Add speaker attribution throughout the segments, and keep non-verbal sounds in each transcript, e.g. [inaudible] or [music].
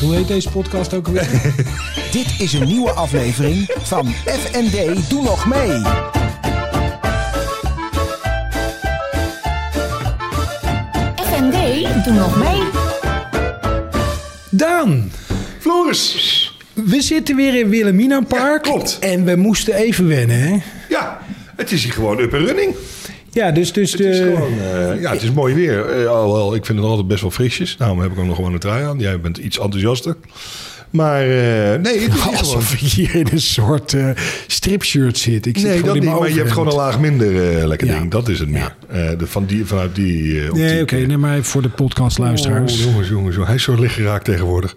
Speaker 1: Hoe heet deze podcast ook
Speaker 2: [laughs]
Speaker 1: alweer?
Speaker 3: Dit is een nieuwe aflevering van FND Doe Nog Mee.
Speaker 4: FND, doe nog mee.
Speaker 1: Daan,
Speaker 2: Floris.
Speaker 1: we zitten weer in Willemina Park.
Speaker 2: Ja, klopt.
Speaker 1: En we moesten even wennen, hè?
Speaker 2: Ja, het is hier gewoon up and running.
Speaker 1: Ja, dus, dus
Speaker 2: Het is
Speaker 1: de-
Speaker 2: gewoon, eh, ja, het is mooi weer. Eh, alhoewel, ik vind het altijd best wel frisjes. Daarom heb ik ook nog gewoon een trui aan. Jij bent iets enthousiaster. Maar eh,
Speaker 1: [laughs]
Speaker 2: nee, het is hier gewoon...
Speaker 1: Alsof ik hier in een soort eh, stripshirt zit. Ik zit
Speaker 2: Nee,
Speaker 1: gewoon
Speaker 2: dat
Speaker 1: in
Speaker 2: niet,
Speaker 1: mijn
Speaker 2: maar je hebt gewoon een
Speaker 1: overhemd.
Speaker 2: laag minder eh, lekker
Speaker 1: Ja.
Speaker 2: ding. Dat is het meer. Eh, de- van die, vanuit die eh, optiek.
Speaker 1: Nee, oké, nee, maar voor de
Speaker 2: Oh,
Speaker 1: podcastluisteraars.
Speaker 2: jongens, jongens, jongens. Hij is zo licht geraakt tegenwoordig.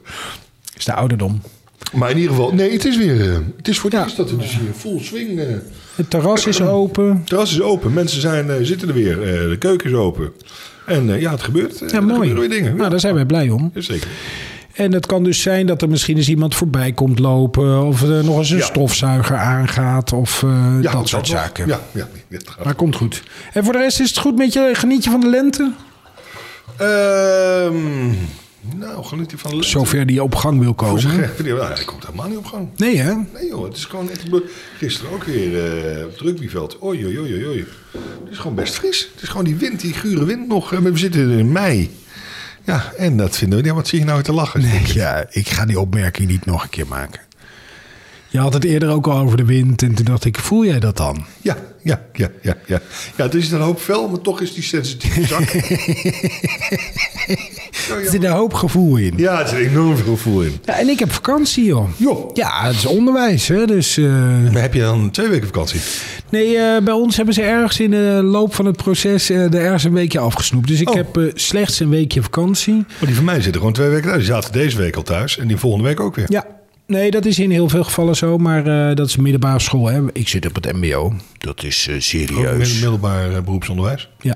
Speaker 1: is de ouderdom.
Speaker 2: Maar in ieder geval, nee, het is weer... eh, het is voor het eerst dat we dus hier full swing... eh,
Speaker 1: Het terras
Speaker 2: [clears throat]
Speaker 1: is open.
Speaker 2: Het terras is open, mensen zijn, eh, zitten er weer, eh, de keuken is open. En eh, ja, het gebeurt. Eh,
Speaker 1: Ja,
Speaker 2: er
Speaker 1: mooi.
Speaker 2: gebeuren weer dingen.
Speaker 1: Nou, daar zijn wij blij om.
Speaker 2: Ja, zeker.
Speaker 1: En het kan dus zijn dat er misschien eens iemand voorbij komt lopen. Of er nog eens een
Speaker 2: Ja.
Speaker 1: stofzuiger aangaat. Of eh,
Speaker 2: Ja,
Speaker 1: dat soort
Speaker 2: wel.
Speaker 1: zaken.
Speaker 2: Ja, ja, ja, het gaat.
Speaker 1: Maar komt goed. En voor de rest is het goed met je? Geniet je van de lente?
Speaker 2: Ehm, nou, geniet hier van de lente.
Speaker 1: Zover die op gang wil
Speaker 2: Voor zich,
Speaker 1: komen.
Speaker 2: eh, Nou, hij komt helemaal niet op gang.
Speaker 1: Nee [laughs] hè?
Speaker 2: Nee joh, het is gewoon echt... Gisteren ook weer eh, op het rugbyveld. Oei, oei, oei, oei, oei. Het is gewoon best fris. Het is gewoon die wind, die gure wind nog. Eh, We zitten in mei. Ja, en dat vinden we... Ja, wat zie je nou te lachen?
Speaker 3: Ja, ik ga die opmerking niet nog een keer maken.
Speaker 1: Je had het eerder ook al over de wind. En toen dacht ik, voel jij dat dan?
Speaker 2: Ja, ja, ja, ja, ja. Ja, het is een hoop vel, maar toch is die sensitieve [laughs] zak.
Speaker 1: Er zit een hoop gevoel in.
Speaker 2: ja, er zit enorm veel gevoel in.
Speaker 1: Ja, en ik heb vakantie joh.
Speaker 2: Joh.
Speaker 1: Ja, het is onderwijs hè. Dus, eh,
Speaker 2: Maar heb je dan twee weken vakantie?
Speaker 1: Nee, eh, bij ons hebben ze ergens in de loop van het proces eh, er ergens een weekje afgesnoept. Dus ik
Speaker 2: Oh.
Speaker 1: heb eh, slechts een weekje vakantie.
Speaker 2: Maar die van mij zitten gewoon twee weken thuis. Die zaten deze week al thuis en die volgende week ook weer.
Speaker 1: Ja, nee, dat is in heel veel gevallen zo. Maar eh, dat is een middelbare school. Hè. Ik zit op het MBO. Dat is eh,
Speaker 2: Ook
Speaker 1: serieus.
Speaker 2: mid- middelbaar eh, beroepsonderwijs.
Speaker 1: Ja.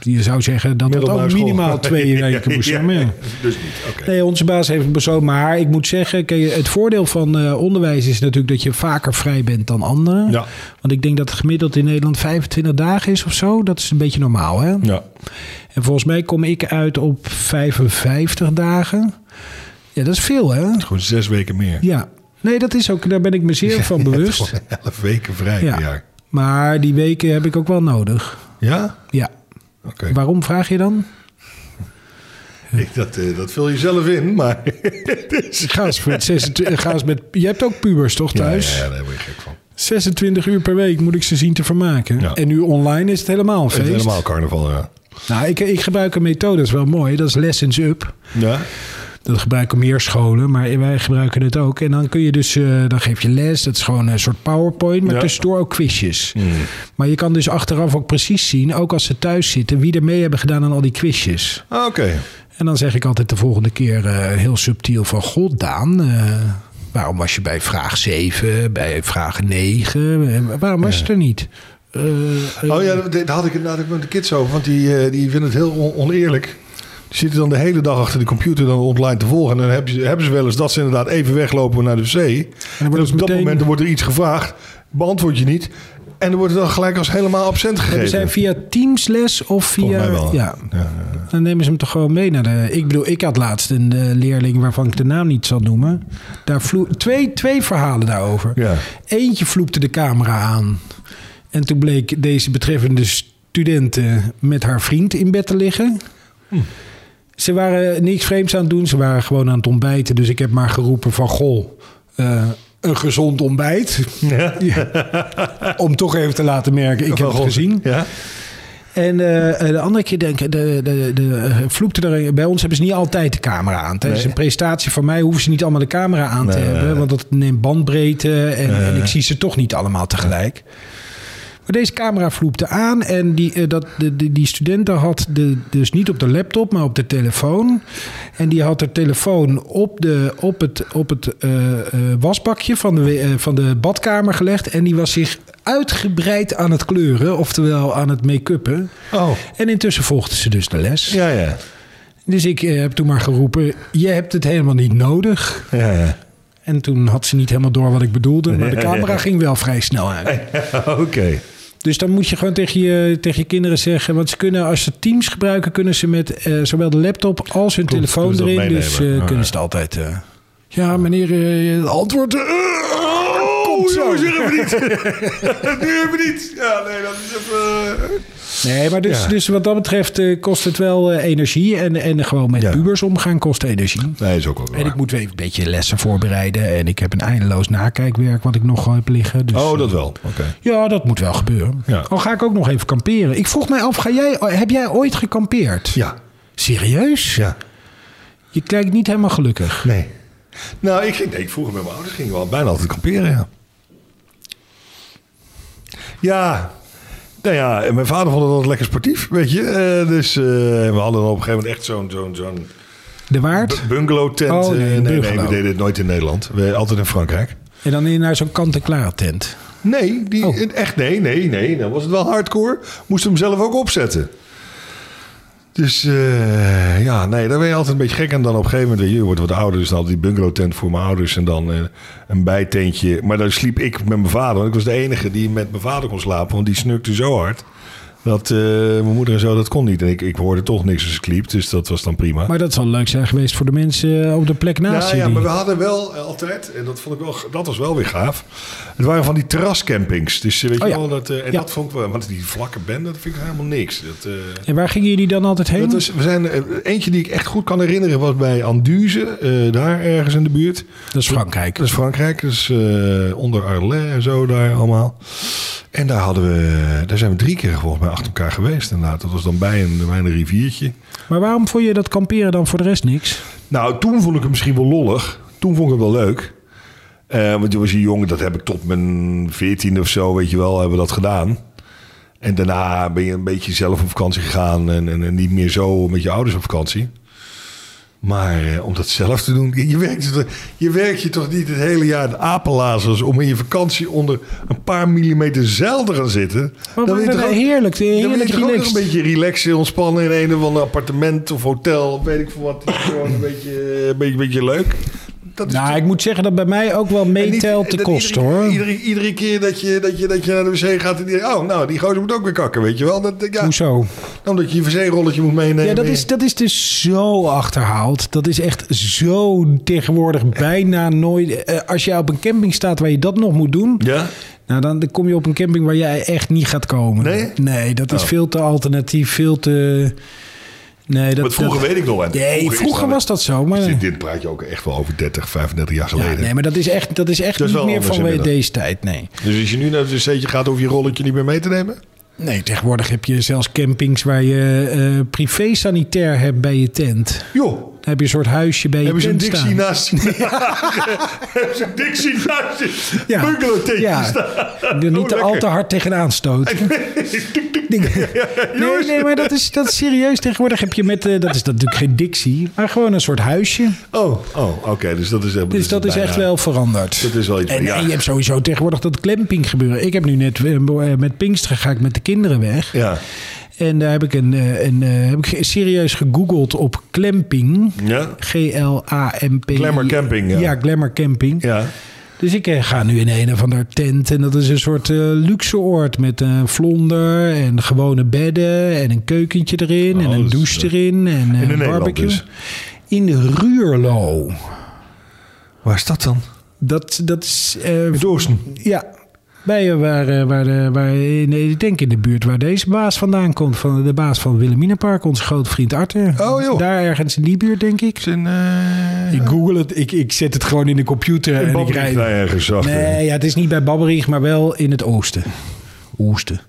Speaker 1: Je zou zeggen dat dat
Speaker 2: Middelbare
Speaker 1: ook
Speaker 2: school.
Speaker 1: minimaal
Speaker 2: [laughs]
Speaker 1: twee weken moest zijn. maar ja.
Speaker 2: Dus niet, oké.
Speaker 1: Nee, onze baas heeft het zo. Maar ik moet zeggen, kijk, het voordeel van eh, onderwijs is natuurlijk dat je vaker vrij bent dan anderen.
Speaker 2: Ja.
Speaker 1: Want ik denk dat het gemiddeld in Nederland 25 dagen is of zo. Dat is een beetje normaal, hè?
Speaker 2: Ja.
Speaker 1: En volgens mij kom ik uit op 55 dagen. Ja, dat is veel, hè?
Speaker 2: Gewoon zes weken meer.
Speaker 1: Ja. Nee, dat is ook, daar ben ik me zeer van bewust.
Speaker 2: Gewoon [laughs] elf weken vrij per
Speaker 1: Ja.
Speaker 2: jaar.
Speaker 1: Maar die weken heb ik ook wel nodig.
Speaker 2: Ja?
Speaker 1: Ja.
Speaker 2: Oké.
Speaker 1: Waarom vraag je dan?
Speaker 2: Ik- [laughs] Dat, eh, dat vul je zelf in, maar...
Speaker 1: Ga eens met, 26, ga eens met je hebt ook pubers toch thuis?
Speaker 2: Ja, ja, daar word je gek van.
Speaker 1: 26 uur per week moet ik ze zien te vermaken.
Speaker 2: Ja.
Speaker 1: En nu online is het helemaal een
Speaker 2: Het
Speaker 1: feest.
Speaker 2: is helemaal carnaval, ja.
Speaker 1: Nou, ik, ik gebruik een methode, dat is wel mooi. Dat is Lessons Up.
Speaker 2: Ja?
Speaker 1: Dat gebruiken meer scholen, maar wij gebruiken het ook. En dan kun je dus, eh, dan geef je les. Dat is gewoon een soort PowerPoint, maar
Speaker 2: Ja. Hmm.
Speaker 1: tussendoor ook quizjes. Maar je kan dus achteraf ook precies zien, ook als ze thuis zitten, wie er mee hebben gedaan aan al die quizjes.
Speaker 2: Ah, Oké.
Speaker 1: En dan zeg ik altijd de volgende keer eh, heel subtiel van... God, Daan, eh, waarom was je bij vraag 7, bij vraag 9? Eh, waarom was je er niet? Eh, eh,
Speaker 2: Oh ja, dat- daar had ik het had ik met de kids over, want die, eh, die vinden het heel on- oneerlijk. Die zitten dan de hele dag achter de computer dan online te volgen. En dan hebben ze, hebben ze wel eens dat ze inderdaad even weglopen naar de wc. En,
Speaker 1: wordt
Speaker 2: op
Speaker 1: het
Speaker 2: dat
Speaker 1: meteen-
Speaker 2: moment wordt er iets gevraagd, beantwoord je niet. En dan wordt het dan gelijk als helemaal absent gegeven.
Speaker 1: Hebben zij via Teams les of
Speaker 2: Volgens
Speaker 1: via...
Speaker 2: mij wel.
Speaker 1: Ja,
Speaker 2: Ja.
Speaker 1: dan nemen ze hem toch gewoon mee naar de... Ik bedoel, ik had laatst een eh, leerling waarvan ik de naam niet zal noemen. Daar vloe... twee, twee verhalen daarover.
Speaker 2: Ja.
Speaker 1: Eentje vloepte de camera aan. En toen bleek deze betreffende studenten met haar vriend in bed te liggen.
Speaker 2: Hm.
Speaker 1: Ze waren niks vreemds aan het doen. Ze waren gewoon aan het ontbijten. Dus ik heb maar geroepen van... Goh, eh, een gezond ontbijt. [laughs] Ja. Om toch even te laten merken, ik heb het gezien.
Speaker 2: Ja?
Speaker 1: En eh, de andere keer denk ik, de, de, de, eh, vloekte er. Bij ons hebben ze niet altijd de camera aan. Tijdens een presentatie van mij hoeven ze niet allemaal de camera aan te
Speaker 2: Nee.
Speaker 1: hebben. Want dat neemt bandbreedte. En, en ik zie ze toch niet allemaal tegelijk. Maar deze camera vloepte aan. En die, eh, dat, de, de- die studenten had de, dus niet op de laptop, maar op de telefoon. En die had haar telefoon op, de, op het, op het eh, eh, wasbakje van de, we- eh, van de badkamer gelegd. En die was zich uitgebreid aan het kleuren, oftewel aan het make-uppen.
Speaker 2: Oh,
Speaker 1: En intussen volgden ze dus de les.
Speaker 2: ja, ja.
Speaker 1: Dus ik eh, heb toen maar geroepen: Je hebt het helemaal niet nodig.
Speaker 2: ja, ja. [laughs]
Speaker 1: En toen had ze niet helemaal door wat ik bedoelde. Maar de
Speaker 2: Ja,
Speaker 1: camera
Speaker 2: ja.
Speaker 1: ging wel vrij snel uit.
Speaker 2: Oké.
Speaker 1: Dus dan moet je gewoon tegen je, tegen je kinderen zeggen. Want ze kunnen, als ze teams gebruiken, kunnen ze met eh, zowel de laptop als hun
Speaker 2: Klopt,
Speaker 1: telefoon
Speaker 2: kunnen ze dat
Speaker 1: erin. Dus eh,
Speaker 2: meenemen. Ja, ja.
Speaker 1: kunnen ze het altijd. eh, ja, meneer, eh, het antwoord. eh,
Speaker 2: Oh,
Speaker 1: komt zo.
Speaker 2: hebben we niet. [laughs] nu hebben we niet. Ja, nee, dat is even... eh,
Speaker 1: Nee, maar dus,
Speaker 2: Ja.
Speaker 1: dus wat dat betreft eh, kost het wel eh, energie. En, en gewoon met
Speaker 2: Ja.
Speaker 1: pubers omgaan kost energie.
Speaker 2: Nee, is ook wel
Speaker 1: En
Speaker 2: waar.
Speaker 1: ik moet weer even een beetje lessen voorbereiden. En ik heb een eindeloos nakijkwerk wat ik nog heb liggen. Dus, eh,
Speaker 2: Oh, dat wel. Oké.
Speaker 1: Ja, dat moet wel gebeuren.
Speaker 2: Ja.
Speaker 1: Al ga ik ook nog even kamperen. Ik vroeg mij af, ga jij, oh, heb jij ooit gekampeerd?
Speaker 2: Ja.
Speaker 1: Serieus?
Speaker 2: Ja.
Speaker 1: Je kijkt niet helemaal gelukkig.
Speaker 2: Nee. Nou, ik ging, nee, ik vroeger met mijn ouders gingen we al bijna altijd kamperen, ja. Ja. Nou ja, en mijn vader vond het altijd lekker sportief, weet je. Eh, dus eh, we hadden op een gegeven moment echt zo'n zo'n zo'n
Speaker 1: De waard.
Speaker 2: bungalow tent. Eh,
Speaker 1: Oh, nee, een
Speaker 2: nee, nee,
Speaker 1: bungalow.
Speaker 2: we deden het nooit in Nederland. We, altijd in Frankrijk.
Speaker 1: En dan in naar zo'n kant-en-klaar tent.
Speaker 2: Nee, die,
Speaker 1: Oh.
Speaker 2: echt nee, nee, nee. Dan was het wel hardcore. Moest hem zelf ook opzetten. Dus eh, ja, nee, daar ben je altijd een beetje gek. En dan op een gegeven moment, weet je, je wordt wat ouder. Dus dan had die bungalow tent voor mijn ouders. En dan eh, een bijtentje. Maar dan sliep ik met mijn vader. Want ik was de enige die met mijn vader kon slapen. Want die snukte zo hard. Dat eh, mijn moeder en zo, dat kon niet. En ik, ik hoorde toch niks als ik liep. Dus dat was dan prima.
Speaker 1: Maar dat zal leuk zijn geweest voor de mensen eh, op de plek naast
Speaker 2: Nou Ja, ja,
Speaker 1: jullie.
Speaker 2: maar we hadden wel eh, altijd, en dat vond ik wel, dat was wel weer gaaf. Het waren van die terrascampings. Dus eh, weet
Speaker 1: Oh,
Speaker 2: je
Speaker 1: ja.
Speaker 2: wel, dat, eh, en
Speaker 1: Ja.
Speaker 2: dat vond ik wel, want die vlakke band, dat vind ik helemaal niks. Dat, eh,
Speaker 1: En waar gingen jullie dan altijd heen?
Speaker 2: dat was, we zijn, eh, eentje die ik echt goed kan herinneren was bij Anduze, eh, daar ergens in de buurt.
Speaker 1: Dat is Frankrijk.
Speaker 2: Dat is Frankrijk, dus onder Arles en zo daar allemaal. En daar hadden we, daar zijn we drie keer volgens mij achter elkaar geweest inderdaad. Dat was dan bij een, bij een riviertje.
Speaker 1: Maar waarom vond je dat kamperen dan voor de rest niks?
Speaker 2: Nou, toen vond ik het misschien wel lollig. Toen vond ik het wel leuk. Eh, want toen was je jong, dat heb ik tot mijn veertien of zo, weet je wel, hebben we dat gedaan. En daarna ben je een beetje zelf op vakantie gegaan en, en, en niet meer zo met je ouders op vakantie. Maar eh, om dat zelf te doen, je- je werkt, je toch- je werkt je toch niet het hele jaar de apenlazers om in je vakantie onder een paar millimeter zeil te gaan zitten.
Speaker 1: Maar,
Speaker 2: Dan
Speaker 1: maar,
Speaker 2: wil je
Speaker 1: maar,
Speaker 2: toch ook-
Speaker 1: heerlijk,
Speaker 2: dan wil
Speaker 1: heerlijk
Speaker 2: je toch ook nog
Speaker 1: relaxed.
Speaker 2: een beetje relaxen, ontspannen in een of ander appartement of hotel, weet ik veel wat.
Speaker 1: [coughs]
Speaker 2: Gewoon een beetje, een beetje, een beetje leuk. Dat is
Speaker 1: Nou, ik moet zeggen dat bij mij ook wel
Speaker 2: en niet-
Speaker 1: meetelt de
Speaker 2: dat
Speaker 1: kost,
Speaker 2: iedere,
Speaker 1: hoor.
Speaker 2: Iedere, iedere keer dat je, dat, je, dat je naar de wc gaat en die, oh, nou, die gozer moet ook weer kakken, weet je wel. Dat, [laughs] ja,
Speaker 1: Hoezo?
Speaker 2: omdat je je wc-rolletje moet meenemen.
Speaker 1: Ja, dat is, dat is dus zo achterhaald. Dat is echt zo tegenwoordig bijna nooit. eh, als jij op een camping staat waar je dat nog moet doen.
Speaker 2: Ja?
Speaker 1: Nou, dan kom je op een camping waar jij echt niet gaat komen.
Speaker 2: Nee?
Speaker 1: dat is
Speaker 2: Oh.
Speaker 1: veel te alternatief, veel te. Nee, dat,
Speaker 2: Want vroeger
Speaker 1: dat-
Speaker 2: weet ik nog wel.
Speaker 1: Nee, vroeger,
Speaker 2: is dan-
Speaker 1: was dat zo. Maar,
Speaker 2: Dit, dit praat je ook echt wel over 30, 35 jaar
Speaker 1: ja,
Speaker 2: geleden.
Speaker 1: nee, maar dat is echt, dat is echt
Speaker 2: Dat is
Speaker 1: niet
Speaker 2: wel
Speaker 1: meer
Speaker 2: anders
Speaker 1: van
Speaker 2: inmiddels.
Speaker 1: deze tijd. Nee.
Speaker 2: Dus als je nu naar het wc'tje gaat, hoef je je rolletje niet meer mee te nemen?
Speaker 1: nee, tegenwoordig heb je zelfs campings waar je eh privé-sanitair hebt bij je tent.
Speaker 2: Joh,
Speaker 1: Dan heb je een soort huisje bij je
Speaker 2: Hebben ze een
Speaker 1: tent
Speaker 2: Dixie
Speaker 1: staan.
Speaker 2: naast
Speaker 1: [laughs]
Speaker 2: je? [laughs] Hebben ze een Dixie naast je? Ja. Bungalow tegen
Speaker 1: ja.
Speaker 2: je staan?
Speaker 1: Ik wil
Speaker 2: Oh,
Speaker 1: niet te al
Speaker 2: lekker.
Speaker 1: te hard tegenaan stoten.
Speaker 2: [laughs]
Speaker 1: Nee,
Speaker 2: Jongens.
Speaker 1: nee, maar dat is, dat is serieus. Tegenwoordig heb je met, eh, dat is dat natuurlijk geen dictie, maar gewoon een soort huisje.
Speaker 2: Oh, oh oké. dus dat is...
Speaker 1: Dus dat is
Speaker 2: bijna-
Speaker 1: echt wel veranderd.
Speaker 2: Dat is wel iets...
Speaker 1: En,
Speaker 2: ja.
Speaker 1: en je hebt sowieso tegenwoordig dat klemping gebeuren. Ik heb nu net eh, met Pinksteren ga ik met de kinderen weg.
Speaker 2: ja.
Speaker 1: En daar heb ik, een, eh, een, eh, heb ik ge- serieus gegoogeld op klemping.
Speaker 2: Ja.
Speaker 1: G-L-A-M-P.
Speaker 2: Glamour camping, ja.
Speaker 1: Ja, glamour camping.
Speaker 2: Ja.
Speaker 1: Dus ik eh, ga nu in een of ander tent. En dat is een soort eh, luxe oord met een vlonder en gewone bedden en een keukentje erin en
Speaker 2: Oh,
Speaker 1: een
Speaker 2: dat is,
Speaker 1: douche
Speaker 2: eh,
Speaker 1: erin en eh,
Speaker 2: in
Speaker 1: een
Speaker 2: Nederland
Speaker 1: barbecue.
Speaker 2: dus.
Speaker 1: In de Ruurlo.
Speaker 2: Waar is dat dan?
Speaker 1: Dat, dat is... eh,
Speaker 2: In Doorsten.
Speaker 1: ja, bij eh, waar, eh, waar, de- waar, in- eh, ik denk in de buurt waar deze baas vandaan komt. Van de baas van Wilhelminapark, onze grote vriend Arthur.
Speaker 2: Oh, joh.
Speaker 1: Daar ergens in die buurt, denk ik.
Speaker 2: In... eh,
Speaker 1: Ik google het, ik, ik zet het gewoon in de computer
Speaker 2: in
Speaker 1: en ik
Speaker 2: Babbelich
Speaker 1: rijd.
Speaker 2: daar ergens eh, achter.
Speaker 1: Nee, ja, het is niet bij Babberich, maar wel in het oosten. Oosten.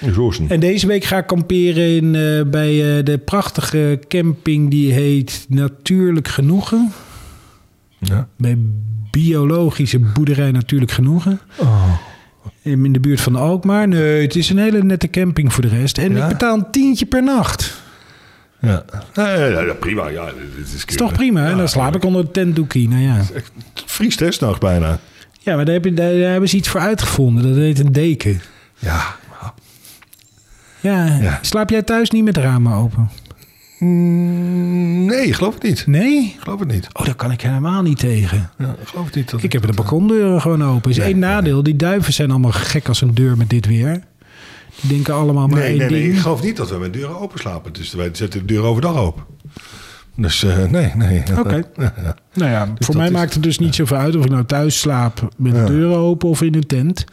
Speaker 2: In Doorsten.
Speaker 1: En deze week ga ik kamperen in, eh, bij eh, de prachtige camping die heet Natuurlijk Genoegen.
Speaker 2: Ja.
Speaker 1: Bij biologische boerderij Natuurlijk Genoegen.
Speaker 2: Oh.
Speaker 1: In in de buurt van Alkmaar. Nee, het is een hele nette camping voor de rest. En
Speaker 2: Ja?
Speaker 1: ik betaal een tientje per nacht.
Speaker 2: Ja. Ja, ja, ja, prima. Ja, dit dit is,
Speaker 1: is toch prima, hè? Dan slaap ik onder het tentdoekie. Nou ja.
Speaker 2: Vriest hè, s'nachts bijna.
Speaker 1: ja, maar daar, heb je, daar, daar hebben ze iets voor uitgevonden. Dat heet een deken.
Speaker 2: Ja.
Speaker 1: Ja.
Speaker 2: Ja.
Speaker 1: Slaap jij thuis niet met de ramen open?
Speaker 2: Mm, Nee, geloof het niet.
Speaker 1: Nee?
Speaker 2: Geloof het niet.
Speaker 1: Oh, daar kan ik helemaal niet tegen.
Speaker 2: Ja, geloof het niet. dat-
Speaker 1: Ik heb de balkondeuren gewoon open. Is één nadeel. Die duiven zijn allemaal gek als een deur met dit weer. Die denken allemaal Oh, maar
Speaker 2: Nee,
Speaker 1: één
Speaker 2: nee,
Speaker 1: ding.
Speaker 2: nee, ik geloof niet dat we met deuren open slapen. Dus wij zetten de deuren overdag open. Dus eh, nee, nee.
Speaker 1: [laughs] Oké.
Speaker 2: [laughs]
Speaker 1: Nou ja, voor mij
Speaker 2: dat is-
Speaker 1: maakt het dus niet zoveel uit of ik nou thuis slaap met de deuren open of in een tent.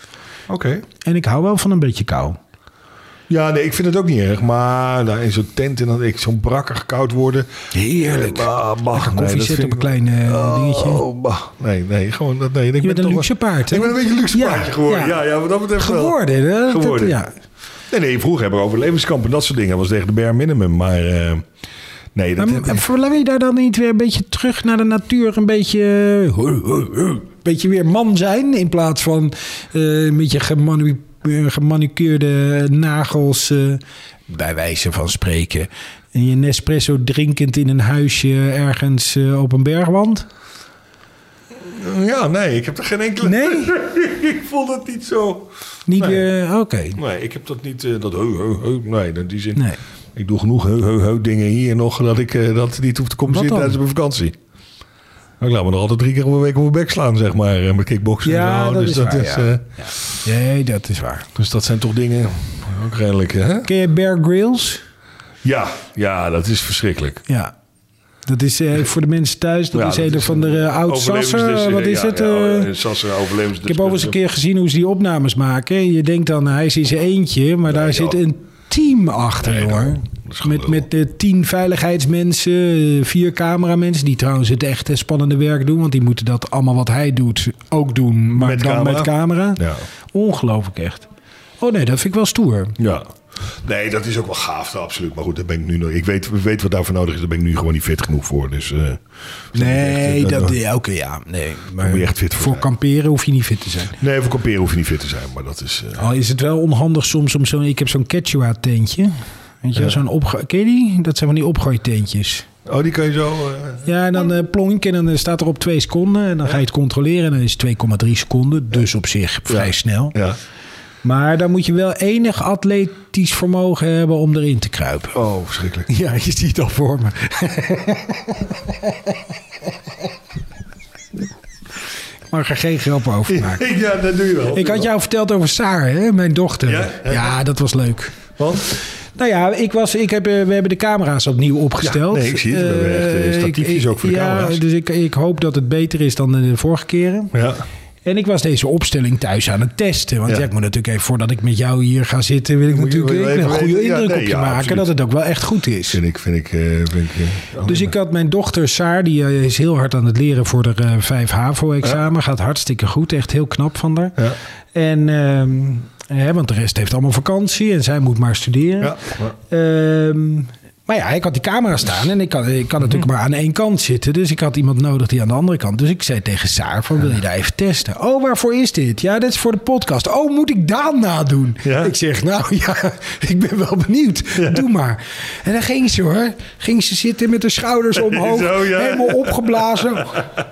Speaker 2: Oké.
Speaker 1: En ik hou wel van een beetje kou.
Speaker 2: Ja, nee, ik vind het ook niet erg. Maar daar in zo'n tent en dan ik zo'n brakkig koud worden.
Speaker 1: Heerlijk.
Speaker 2: Ah, bah, nee,
Speaker 1: Koffie zetten
Speaker 2: dat vind
Speaker 1: op
Speaker 2: ik-
Speaker 1: een klein eh, dingetje.
Speaker 2: Oh, bah. Nee, nee, gewoon dat. Nee, ik
Speaker 1: Je
Speaker 2: ben
Speaker 1: bent een
Speaker 2: toch
Speaker 1: luxe
Speaker 2: wel-
Speaker 1: paard, hè?
Speaker 2: Ik ben een beetje een luxe
Speaker 1: Ja,
Speaker 2: paardje geworden.
Speaker 1: ja.
Speaker 2: Ja, ja, wat dat betreft wel.
Speaker 1: Geworden, hè? Dat-
Speaker 2: Geworden.
Speaker 1: ja.
Speaker 2: Nee, nee, vroeger hebben we overlevingskampen en dat soort dingen. Dat was tegen de bare minimum. Maar eh, nee, dat...
Speaker 1: Maar m- verlang je daar dan niet weer een beetje terug naar de natuur? Een beetje, een beetje weer man zijn in plaats van eh, een beetje gemanu- eh, gemanicureerde nagels, eh, bij wijze van spreken. En je Nespresso drinkend in een huisje ergens eh, op een bergwand?
Speaker 2: Ja, nee, ik heb er geen enkele...
Speaker 1: Nee?
Speaker 2: [laughs] ik vond het niet zo...
Speaker 1: Niet
Speaker 2: Nee.
Speaker 1: weer, eh, oké.
Speaker 2: Nee, ik heb dat niet... eh, dat heu, heu, heu. Nee, in die zin...
Speaker 1: Nee.
Speaker 2: Ik doe genoeg heu, heu, heu dingen hier nog... dat ik eh, dat niet hoef te compenseren
Speaker 1: Wat dan?
Speaker 2: tijdens mijn vakantie. Nou, Ik laat me nog altijd drie keer op een week op mijn bek slaan, zeg maar. eh, Met kickboksen
Speaker 1: Ja,
Speaker 2: en zo.
Speaker 1: dat
Speaker 2: dus
Speaker 1: is
Speaker 2: dat
Speaker 1: waar,
Speaker 2: is...
Speaker 1: ja.
Speaker 2: eh,
Speaker 1: Nee, dat is waar.
Speaker 2: Dus dat zijn toch dingen... Ook redelijk, hè?
Speaker 1: Ken je Bear Grylls?
Speaker 2: Ja, ja, dat is verschrikkelijk.
Speaker 1: Ja. Dat is eh, voor de mensen thuis, dat
Speaker 2: Ja,
Speaker 1: is een
Speaker 2: is
Speaker 1: of andere
Speaker 2: een
Speaker 1: oud-sasser.
Speaker 2: overlevingsdeskundige.
Speaker 1: Wat is
Speaker 2: Ja,
Speaker 1: het?
Speaker 2: ja,
Speaker 1: eh?
Speaker 2: een Sasser overlevens.
Speaker 1: Ik heb overigens een keer gezien hoe ze die opnames maken. Je denkt dan, hij is in zijn eentje, maar daar zit
Speaker 2: joh.
Speaker 1: een team achter,
Speaker 2: Nee,
Speaker 1: hoor.
Speaker 2: nou, dat is
Speaker 1: Met,
Speaker 2: gelul.
Speaker 1: met eh, tien veiligheidsmensen, eh, vier cameramensen, die trouwens het echt eh, spannende werk doen. Want die moeten dat allemaal wat hij doet ook doen, maar
Speaker 2: Met
Speaker 1: dan
Speaker 2: camera?
Speaker 1: met camera.
Speaker 2: Ja.
Speaker 1: Ongelooflijk echt. Oh nee, dat vind ik wel stoer.
Speaker 2: Ja. Nee, dat is ook wel gaaf, absoluut. Maar goed, daar ben ik nu nog. Ik weet, ik weet wat daarvoor nodig is. Daar ben ik nu gewoon niet fit genoeg voor. Dus. eh,
Speaker 1: Nee,
Speaker 2: dat-
Speaker 1: dat, ja, oké, ja. Nee, maar
Speaker 2: moet je echt fit voor
Speaker 1: voor
Speaker 2: zijn.
Speaker 1: kamperen hoef je niet fit te zijn.
Speaker 2: nee, voor kamperen hoef je niet fit te zijn. Maar dat is. eh,
Speaker 1: Al Oh, is het wel onhandig soms om zo'n... Ik heb zo'n Quechua-tentje. Weet je, wel, zo'n opge... Ken je die? Dat zijn van die opgooiteentjes.
Speaker 2: oh, die kan je zo. eh,
Speaker 1: Ja, en dan eh plonk en dan eh, staat er op twee seconden. En dan ga je het controleren en dan is het 2,3 seconden. Dus op zich vrij snel.
Speaker 2: ja.
Speaker 1: Maar dan moet je wel enig atletisch vermogen hebben om erin te kruipen.
Speaker 2: Oh, verschrikkelijk.
Speaker 1: [laughs] Ja, je ziet het al voor me. Ik [laughs] mag er geen grap over maken.
Speaker 2: [laughs] ja, dat doe je wel.
Speaker 1: Ik had jou verteld over Saar, hè? mijn dochter.
Speaker 2: Ja? Ja.
Speaker 1: ja, dat was leuk.
Speaker 2: Want?
Speaker 1: Nou ja, ik was, ik heb, eh, we hebben de camera's opnieuw opgesteld.
Speaker 2: Ja, nee, ik zie het. We hebben echt,
Speaker 1: Eh,
Speaker 2: eh,
Speaker 1: ik-
Speaker 2: statiefjes
Speaker 1: ik-
Speaker 2: ook voor de
Speaker 1: ja,
Speaker 2: camera's.
Speaker 1: dus ik, ik hoop dat het beter is dan de vorige keren.
Speaker 2: Ja.
Speaker 1: En ik was deze opstelling thuis aan het testen. Want ja.
Speaker 2: Ja.
Speaker 1: ik moet natuurlijk even, voordat ik met jou hier ga zitten... wil ik
Speaker 2: Moet je-
Speaker 1: natuurlijk
Speaker 2: wil je
Speaker 1: even een
Speaker 2: even
Speaker 1: goede
Speaker 2: weten? Ja,
Speaker 1: indruk
Speaker 2: nee,
Speaker 1: op je
Speaker 2: ja,
Speaker 1: maken...
Speaker 2: absoluut.
Speaker 1: dat het ook wel echt goed is.
Speaker 2: Vind ik. Vind ik, eh, vind ik eh,
Speaker 1: Dus ik had mijn dochter Saar, die eh, is heel hard aan het leren voor de eh 5 HAVO-examen. Gaat hartstikke goed, echt heel knap van haar.
Speaker 2: Ja.
Speaker 1: En, ehm, hè, want de rest heeft allemaal vakantie en zij moet maar studeren.
Speaker 2: Ja, ja.
Speaker 1: Ehm, maar ja, ik had die camera staan en ik kan, ik kan natuurlijk maar aan één kant zitten. Dus ik had iemand nodig die aan de andere kant. Dus ik zei tegen Saar van, wil je daar even testen? Oh, waarvoor is dit? Ja, dit is voor de podcast. Oh, moet ik Daan nadoen?
Speaker 2: Ja.
Speaker 1: Ik zeg, nou ja, [laughs] ik ben wel benieuwd. Doe maar. En dan ging ze hoor. Ging ze zitten met haar schouders omhoog.
Speaker 2: [laughs] Zo, ja.
Speaker 1: Helemaal opgeblazen.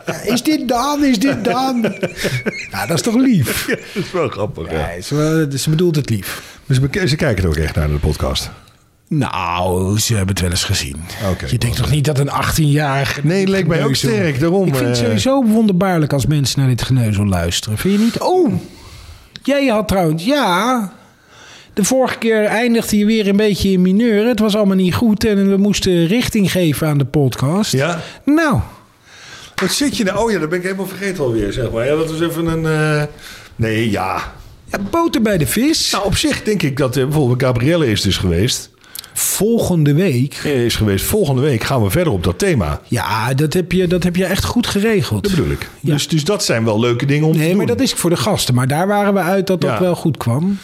Speaker 1: Ja, is dit Daan? Is dit
Speaker 2: [laughs]
Speaker 1: Daan? nou, dat is toch lief?
Speaker 2: dat is wel grappig. Ja.
Speaker 1: Nee, ze, dus ze bedoelt het lief.
Speaker 2: Maar Dus ze, ze kijken er ook echt naar de podcast.
Speaker 1: Nou, ze hebben het wel eens gezien.
Speaker 2: Oké.
Speaker 1: je denkt toch niet dat een 18-jarige...
Speaker 2: Nee, leek mij ook
Speaker 1: geneuzel-
Speaker 2: sterk, daarom,
Speaker 1: Ik vind het
Speaker 2: eh.
Speaker 1: sowieso wonderbaarlijk als mensen naar dit geneuzel luisteren. Vind je niet? Oh, jij had trouwens... Ja, de vorige keer eindigde je weer een beetje in mineur. Het was allemaal niet goed en we moesten richting geven aan de podcast.
Speaker 2: Ja.
Speaker 1: Nou,
Speaker 2: Wat zit je nou? Oh ja, dat ben ik helemaal vergeten alweer, zeg maar. Ja, dat is even een... eh, Nee, ja.
Speaker 1: ja, boter bij de vis.
Speaker 2: Nou, op zich denk ik dat eh, bijvoorbeeld Gabrielle is dus geweest.
Speaker 1: Volgende week...
Speaker 2: Eh, Is geweest. Volgende week gaan we verder op dat thema.
Speaker 1: Ja, dat heb je, dat heb je echt goed geregeld.
Speaker 2: Dat bedoel ik.
Speaker 1: Ja.
Speaker 2: Dus, dus dat zijn wel leuke dingen om te
Speaker 1: Nee,
Speaker 2: doen.
Speaker 1: maar dat is voor de gasten. Maar daar waren we uit dat dat
Speaker 2: Ja.
Speaker 1: wel goed kwam.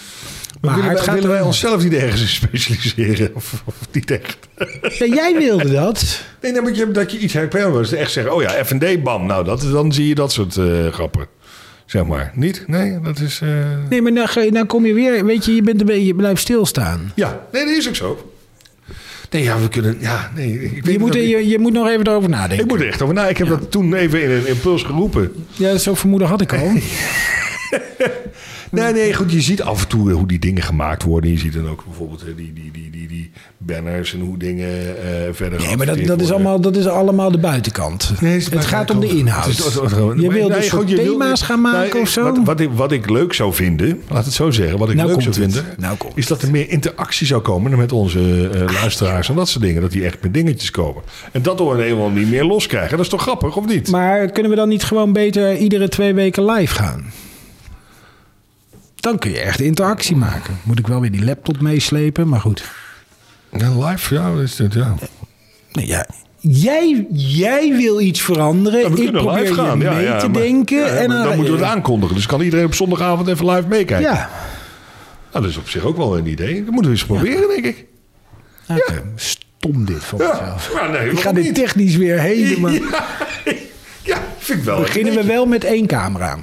Speaker 1: Maar
Speaker 2: willen
Speaker 1: het
Speaker 2: wij,
Speaker 1: gaat
Speaker 2: willen
Speaker 1: er-
Speaker 2: wij onszelf niet ergens in specialiseren? [laughs] Of, of niet echt?
Speaker 1: Ja, jij wilde dat.
Speaker 2: Nee, nee, maar je, dat je iets herkenbaar is. Echt zeggen, oh ja, F&D, bam. Nou, dat, dan zie je dat soort eh, grappen. Zeg maar. Niet? Nee, dat is... eh,
Speaker 1: Nee, maar dan, ga je- dan kom je weer. Weet je, je, bent een beetje, je blijft stilstaan.
Speaker 2: Ja, nee, dat is ook zo. Nee, ja, we kunnen... Ja, nee, ik weet
Speaker 1: Je
Speaker 2: niet
Speaker 1: moet,
Speaker 2: of ik-
Speaker 1: je, je moet nog even erover
Speaker 2: Ik
Speaker 1: nadenken.
Speaker 2: moet er echt over na. Ik heb dat toen even in een impuls geroepen. [laughs]
Speaker 1: Ja, zo'n vermoeden had ik al.
Speaker 2: Nee, nee, goed. Je ziet af en toe eh, hoe die dingen gemaakt worden. Je ziet dan ook bijvoorbeeld eh, die, die, die, die, die banners en hoe dingen eh, verder
Speaker 1: Nee, maar dat,
Speaker 2: geadverteerd
Speaker 1: dat, is
Speaker 2: worden.
Speaker 1: allemaal, dat is allemaal de buitenkant.
Speaker 2: Nee,
Speaker 1: het gaat om de inhoud.
Speaker 2: Het is- het is- het is-
Speaker 1: je
Speaker 2: maar-
Speaker 1: wil
Speaker 2: nee,
Speaker 1: dus
Speaker 2: goed,
Speaker 1: soort
Speaker 2: je wil-
Speaker 1: thema's gaan
Speaker 2: nee,
Speaker 1: maken of zo?
Speaker 2: Wat, wat, ik, wat ik leuk zou vinden, laat het zo zeggen, wat ik
Speaker 1: Nou
Speaker 2: leuk zou
Speaker 1: komt het. Ah,
Speaker 2: vinden,
Speaker 1: Nou komt
Speaker 2: is dat er meer interactie zou komen met onze eh, luisteraars en dat soort dingen. Dat die echt met dingetjes komen. En dat door een helemaal niet meer loskrijgen. Dat is toch grappig, of niet?
Speaker 1: Maar kunnen we dan niet gewoon beter iedere twee weken live gaan? Dan kun je echt interactie maken. Moet ik wel weer die laptop meeslepen, maar goed.
Speaker 2: Ja, live, ja, dat is het, ja.
Speaker 1: Nee, ja. jij, jij wil iets veranderen.
Speaker 2: Ja, we
Speaker 1: ik
Speaker 2: kunnen
Speaker 1: probeer
Speaker 2: live gaan.
Speaker 1: je
Speaker 2: ja,
Speaker 1: mee
Speaker 2: ja,
Speaker 1: te
Speaker 2: maar-
Speaker 1: denken.
Speaker 2: ja, ja,
Speaker 1: en
Speaker 2: maar dan moeten we het aankondigen. Dus kan iedereen op zondagavond even live meekijken.
Speaker 1: Ja,
Speaker 2: Nou, dat is op zich ook wel een idee. Dat moeten we eens proberen, denk ik.
Speaker 1: Nou, Oké. stom dit van
Speaker 2: Ja,
Speaker 1: mezelf.
Speaker 2: maar nee,
Speaker 1: Ik ga
Speaker 2: waarom
Speaker 1: dit
Speaker 2: niet?
Speaker 1: technisch weer helemaal...
Speaker 2: Ja, [laughs] ja, vind ik wel.
Speaker 1: Beginnen we wel met één camera.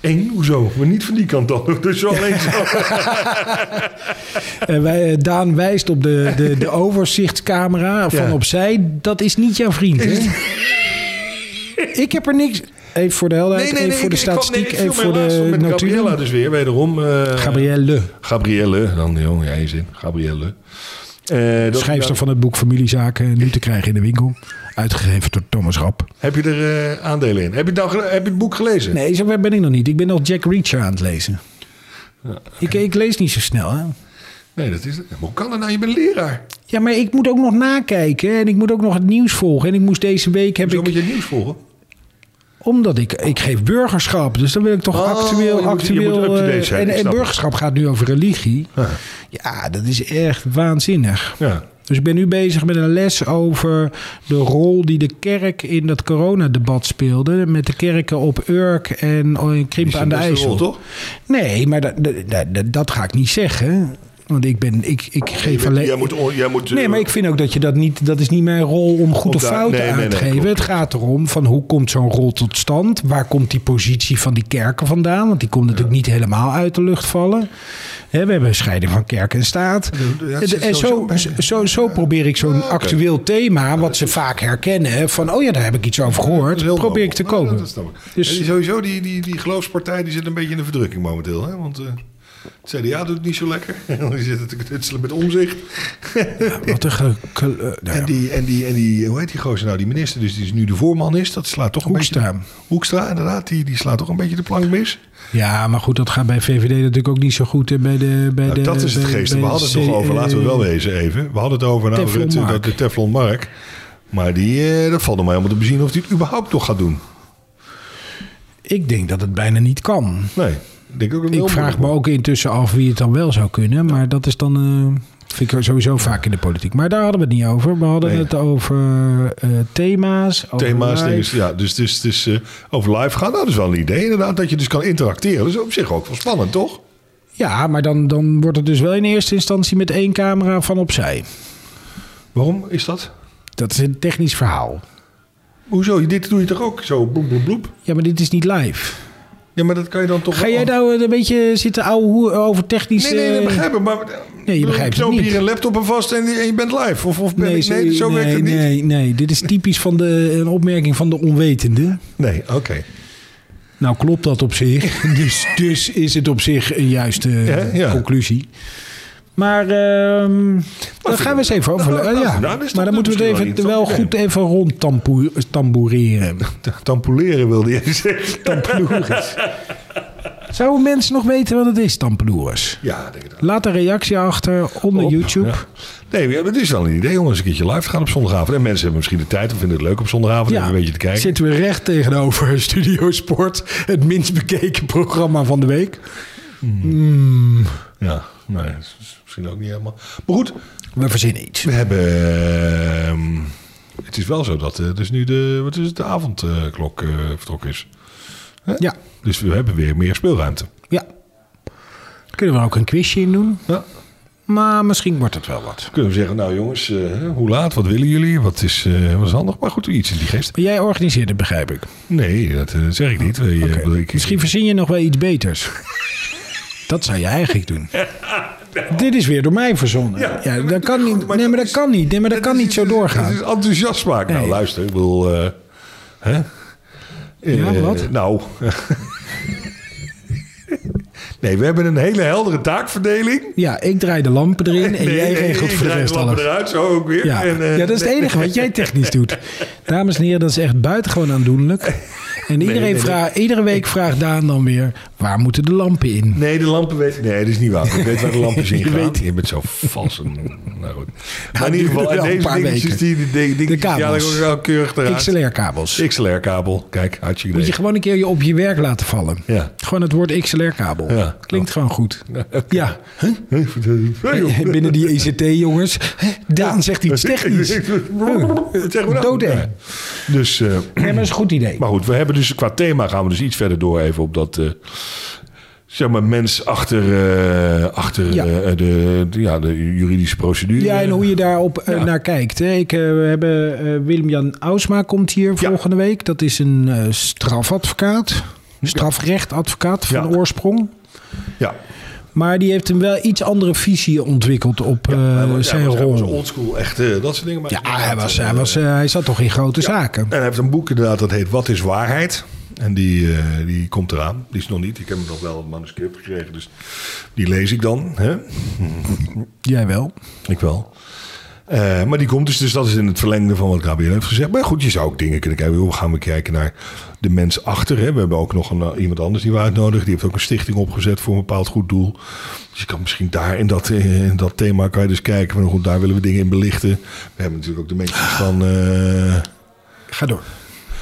Speaker 2: Eén, hoezo? Maar niet van die kant dan. [laughs] Dus zo alleen zo.
Speaker 1: Eh, wij, eh, Daan wijst op de, de,
Speaker 2: [laughs]
Speaker 1: de overzichtscamera van
Speaker 2: Ja.
Speaker 1: opzij. Dat is niet jouw vriend, hè? ik heb er niks... Even voor de helderheid, even voor de statistiek, even voor de
Speaker 2: met Gabriella
Speaker 1: natuur.
Speaker 2: dus weer, wederom. eh,
Speaker 1: Gabrielle,
Speaker 2: Gabrielle, dan jong, jij is in. Gabrielle. Eh, dat-
Speaker 1: schrijfster van het boek Familiezaken, nu te krijgen in de winkel. Uitgegeven door Thomas Rapp.
Speaker 2: Heb je er eh, aandelen in? Heb je, het nou, gele- heb je het boek gelezen?
Speaker 1: Nee, zo ver ben ik nog niet. Ik ben nog Jack Reacher aan het lezen. Ik, ik lees niet zo snel, hè?
Speaker 2: Nee, dat is het. Maar Hoe kan dat nou? Je bent leraar.
Speaker 1: Ja, maar ik moet ook nog nakijken en ik moet ook nog het nieuws volgen. En ik moest deze week, heb
Speaker 2: Zo moet
Speaker 1: ik,
Speaker 2: je het nieuws volgen.
Speaker 1: omdat ik, ik geef burgerschap, dus dan wil ik toch
Speaker 2: Oh,
Speaker 1: actueel,
Speaker 2: je moet- je
Speaker 1: actueel.
Speaker 2: moet up-to-date
Speaker 1: eh,
Speaker 2: zijn,
Speaker 1: en, en
Speaker 2: ik snap het.
Speaker 1: burgerschap gaat nu over religie. Ja, dat is echt waanzinnig.
Speaker 2: Ja.
Speaker 1: Dus ik ben nu bezig met een les over de rol die de kerk in dat coronadebat speelde. Met de kerken op Urk en oh, in Krimpen aan de
Speaker 2: beste
Speaker 1: IJssel.
Speaker 2: rol, toch?
Speaker 1: Nee, maar dat, dat, dat, dat ga ik niet zeggen. Want ik ben, ik, ik
Speaker 2: Oh, Je
Speaker 1: geef
Speaker 2: bent-
Speaker 1: alleen...
Speaker 2: jij moet, on- jij moet, eh,
Speaker 1: Nee, maar ik vind ook dat je dat niet. Dat is niet mijn rol om goed
Speaker 2: Om
Speaker 1: of
Speaker 2: daar-
Speaker 1: fout
Speaker 2: nee, nee,
Speaker 1: aan
Speaker 2: nee,
Speaker 1: te geven.
Speaker 2: klopt.
Speaker 1: Het gaat erom van hoe komt zo'n rol tot stand? Waar komt die positie van die kerken vandaan? Want die komt natuurlijk niet helemaal uit de lucht vallen. Hè, we hebben een scheiding van kerk en staat.
Speaker 2: dat
Speaker 1: En-
Speaker 2: zit
Speaker 1: en zo,
Speaker 2: sowieso bij.
Speaker 1: zo, zo, probeer ik zo'n actueel thema, wat ze vaak herkennen, hè, van oh ja, daar heb ik iets over
Speaker 2: Dat is
Speaker 1: gehoord,
Speaker 2: heel
Speaker 1: probeer ik te
Speaker 2: nobel. Nou,
Speaker 1: kopen.
Speaker 2: dat snap ik.
Speaker 1: Dus-
Speaker 2: En die- sowieso, die, die, die geloofspartij die zit een beetje in de verdrukking momenteel. Hè? Want eh, het CDA doet het niet zo lekker. [laughs] die zitten te knutselen met omzicht.
Speaker 1: Wat een ge- ke- eh, nou ja.
Speaker 2: En, die, en, die, en die, hoe heet die gozer nou? Die minister dus die nu de voorman is, dat slaat toch een
Speaker 1: Hoekstra.
Speaker 2: beetje... Hoekstra. inderdaad. Die, die slaat toch een beetje de plank mis.
Speaker 1: Ja, maar goed, dat gaat bij VVD natuurlijk ook niet zo goed. En bij de, bij
Speaker 2: Nou,
Speaker 1: de,
Speaker 2: dat is het
Speaker 1: bij-
Speaker 2: geest. We
Speaker 1: bij
Speaker 2: hadden het
Speaker 1: C- E
Speaker 2: nog over, laten we wel wezen even. We hadden het over nou,
Speaker 1: Teflon
Speaker 2: Rutte,
Speaker 1: Mark.
Speaker 2: dat de Teflon Mark. Maar die, eh, dat valt er maar helemaal te bezien of die het überhaupt nog gaat doen.
Speaker 1: Ik denk dat het bijna niet kan.
Speaker 2: Nee, ik denk ook dat het heel
Speaker 1: Ik vraag
Speaker 2: moeilijk
Speaker 1: me
Speaker 2: wordt.
Speaker 1: ook intussen af wie het dan wel zou kunnen. Maar dat is dan. eh, vind ik sowieso vaak in de politiek. Maar daar hadden we het niet over. We hadden
Speaker 2: Nee.
Speaker 1: het over eh, thema's. Over
Speaker 2: thema's.
Speaker 1: live.
Speaker 2: Dingen, ja, dus, dus, dus eh, over live gaan, nou, dat is wel een idee inderdaad. Dat je dus kan interacteren. Dat is op zich ook wel spannend, toch?
Speaker 1: Ja, maar dan, dan wordt het dus wel in eerste instantie met één camera van opzij.
Speaker 2: Waarom is dat?
Speaker 1: Dat is een technisch verhaal.
Speaker 2: Hoezo? Dit doe je toch ook zo bloep, bloep, bloep?
Speaker 1: Ja, maar dit is niet live.
Speaker 2: Ja, maar dat kan je dan toch
Speaker 1: Ga
Speaker 2: wel-
Speaker 1: jij nou eh, een beetje zitten ouwe hoe over technische...
Speaker 2: Nee, nee, nee, begrijp ik. Maar
Speaker 1: eh, Nee, je begrijpt
Speaker 2: Knoop
Speaker 1: het niet.
Speaker 2: hier een laptop aan vast en, en je bent live. Of, of ben ik...
Speaker 1: nee,
Speaker 2: Nee, zo werkt het niet.
Speaker 1: nee,
Speaker 2: Nee,
Speaker 1: nee, nee. Dit is typisch van de, een opmerking van de onwetende.
Speaker 2: oké. [laughs]
Speaker 1: Nou klopt dat op zich. dus, dus is het op zich een juiste eh,
Speaker 2: ja.
Speaker 1: conclusie. Maar ehm daar
Speaker 2: vind
Speaker 1: gaan
Speaker 2: ik-
Speaker 1: we eens even over.
Speaker 2: Nou, nou,
Speaker 1: eh, ja.
Speaker 2: nou, dat is toch-
Speaker 1: maar dan
Speaker 2: dat
Speaker 1: moeten we
Speaker 2: is
Speaker 1: het
Speaker 2: misschien
Speaker 1: even
Speaker 2: wel
Speaker 1: wel
Speaker 2: een
Speaker 1: goed even rondtamboureren.
Speaker 2: Tampoleren wilde je
Speaker 1: [laughs]
Speaker 2: zeggen.
Speaker 1: Zouden mensen nog weten wat het is, tampeloers?
Speaker 2: [laughs] Ja, denk ik dat.
Speaker 1: Laat een reactie achter onder
Speaker 2: Op,
Speaker 1: YouTube.
Speaker 2: ja. Nee, maar het is wel een idee om eens een keertje live te gaan op zondagavond. En mensen hebben misschien de tijd of vinden het leuk op zondagavond.
Speaker 1: Ja,
Speaker 2: Even een beetje te kijken.
Speaker 1: zitten we recht tegenover [laughs] Studio Sport, het minst bekeken programma van de week.
Speaker 2: Ja, nee, dat is misschien ook niet helemaal. Maar goed,
Speaker 1: We verzinnen iets.
Speaker 2: we hebben. ehm, het is wel zo dat eh, dus nu de, wat is het, de avondklok eh vertrokken is.
Speaker 1: Ja,
Speaker 2: Dus we hebben weer meer speelruimte.
Speaker 1: ja. Kunnen we er ook een quizje in doen?
Speaker 2: Ja.
Speaker 1: Maar misschien wordt het wel wat.
Speaker 2: Kunnen we zeggen, nou jongens, eh, hoe laat? Wat willen jullie? Wat is, eh, wat is handig? Maar goed, iets in die geest.
Speaker 1: Maar jij organiseert het, begrijp ik.
Speaker 2: Nee, dat eh, zeg ik niet. Eh,
Speaker 1: Oké.
Speaker 2: ik- ik-
Speaker 1: Misschien verzin je nog wel iets beters. Dat zou je eigenlijk
Speaker 2: [laughs]
Speaker 1: doen. Dit is weer door mij verzonnen. Ja, dat kan niet. Nee, maar dat kan niet. Nee, maar dat kan
Speaker 2: is-
Speaker 1: niet zo
Speaker 2: Het is
Speaker 1: doorgaan.
Speaker 2: enthousiast maken. Nou,
Speaker 1: Nee.
Speaker 2: luister, ik bedoel... eh, hè?
Speaker 1: Ja,
Speaker 2: Eh,
Speaker 1: wat?
Speaker 2: Nou... [laughs] Nee, we hebben een hele heldere taakverdeling.
Speaker 1: Ja, ik draai de lampen erin
Speaker 2: [laughs]
Speaker 1: en jij regelt
Speaker 2: ik
Speaker 1: voor de
Speaker 2: draai
Speaker 1: rest
Speaker 2: lampen
Speaker 1: alles.
Speaker 2: eruit, zo ook weer.
Speaker 1: Ja.
Speaker 2: En, eh,
Speaker 1: ja, dat is het enige wat jij technisch
Speaker 2: [laughs]
Speaker 1: doet. Dames en heren, dat is echt buitengewoon aandoenlijk. En iedereen
Speaker 2: nee, nee.
Speaker 1: vra- iedere week vraagt Daan dan weer... waar moeten de lampen in?
Speaker 2: Nee, de lampen weet... Nee, dat is niet waar. Ik weet waar de lampen zien
Speaker 1: Je
Speaker 2: gaan.
Speaker 1: weet-
Speaker 2: Je bent zo vals. en- Nou goed. Maar in
Speaker 1: duurde
Speaker 2: ieder geval,
Speaker 1: wel
Speaker 2: en
Speaker 1: een
Speaker 2: deze
Speaker 1: paar
Speaker 2: dingetjes,
Speaker 1: weken.
Speaker 2: die, die, die, die,
Speaker 1: De
Speaker 2: die ja,
Speaker 1: kabels.
Speaker 2: ook wel keurig eruit.
Speaker 1: XLR-kabels.
Speaker 2: XLR-kabel. Kijk, had je
Speaker 1: Moet
Speaker 2: idee.
Speaker 1: je gewoon een keer je op je werk laten vallen.
Speaker 2: Ja.
Speaker 1: Gewoon het woord XLR-kabel.
Speaker 2: Ja.
Speaker 1: Klinkt gewoon goed. Ja. Huh?
Speaker 2: Hey, joh.
Speaker 1: Binnen die E ECT-jongens. Daan zegt iets technisch.
Speaker 2: Ik- ik- ik- Wat zeggen we nou?
Speaker 1: Dood, hè?
Speaker 2: Ja. Dus, eh,
Speaker 1: Nee, maar dat is een goed idee.
Speaker 2: maar goed, we hebben dus qua thema gaan we dus iets verder door even op dat... eh, Zeg maar, mens achter, eh, achter
Speaker 1: Ja.
Speaker 2: eh, de, de- ja, de juridische procedure.
Speaker 1: Ja, en hoe je daarop eh,
Speaker 2: Ja.
Speaker 1: naar kijkt. Hè. Ik, eh, we hebben eh, Willem-Jan Ausma komt hier
Speaker 2: Ja.
Speaker 1: volgende week. Dat is een eh, strafadvocaat. Strafrechtadvocaat van
Speaker 2: Ja.
Speaker 1: oorsprong.
Speaker 2: Ja,
Speaker 1: Maar die heeft een wel iets andere visie ontwikkeld op eh,
Speaker 2: hij was-
Speaker 1: zijn
Speaker 2: hij was, hij was
Speaker 1: rol.
Speaker 2: oldschool, echt eh, dat soort dingen. Maar
Speaker 1: Ja, hij, was,
Speaker 2: eh,
Speaker 1: hij, was, eh, hij zat toch in grote zaken.
Speaker 2: En hij heeft een boek inderdaad, dat heet Wat is waarheid? En die, eh, die komt eraan. Die is nog niet. Ik heb hem nog wel een manuscript gekregen, dus die lees ik dan. Hè?
Speaker 1: Jij wel.
Speaker 2: Ik wel. Eh, maar die komt dus, dus dat is in het verlengde van wat KBN heeft gezegd. Maar goed, je zou ook dingen kunnen kijken. Hoe gaan we kijken naar de mens achter? Hè? We hebben ook nog een, eh, iemand anders die we uitnodigen. Die heeft ook een stichting opgezet voor een bepaald goed doel. Dus je kan misschien daar in dat, eh, in dat thema kan je dus kijken. Maar goed, daar willen we dingen in belichten. We hebben natuurlijk ook de mensen van... eh,
Speaker 1: Ga door.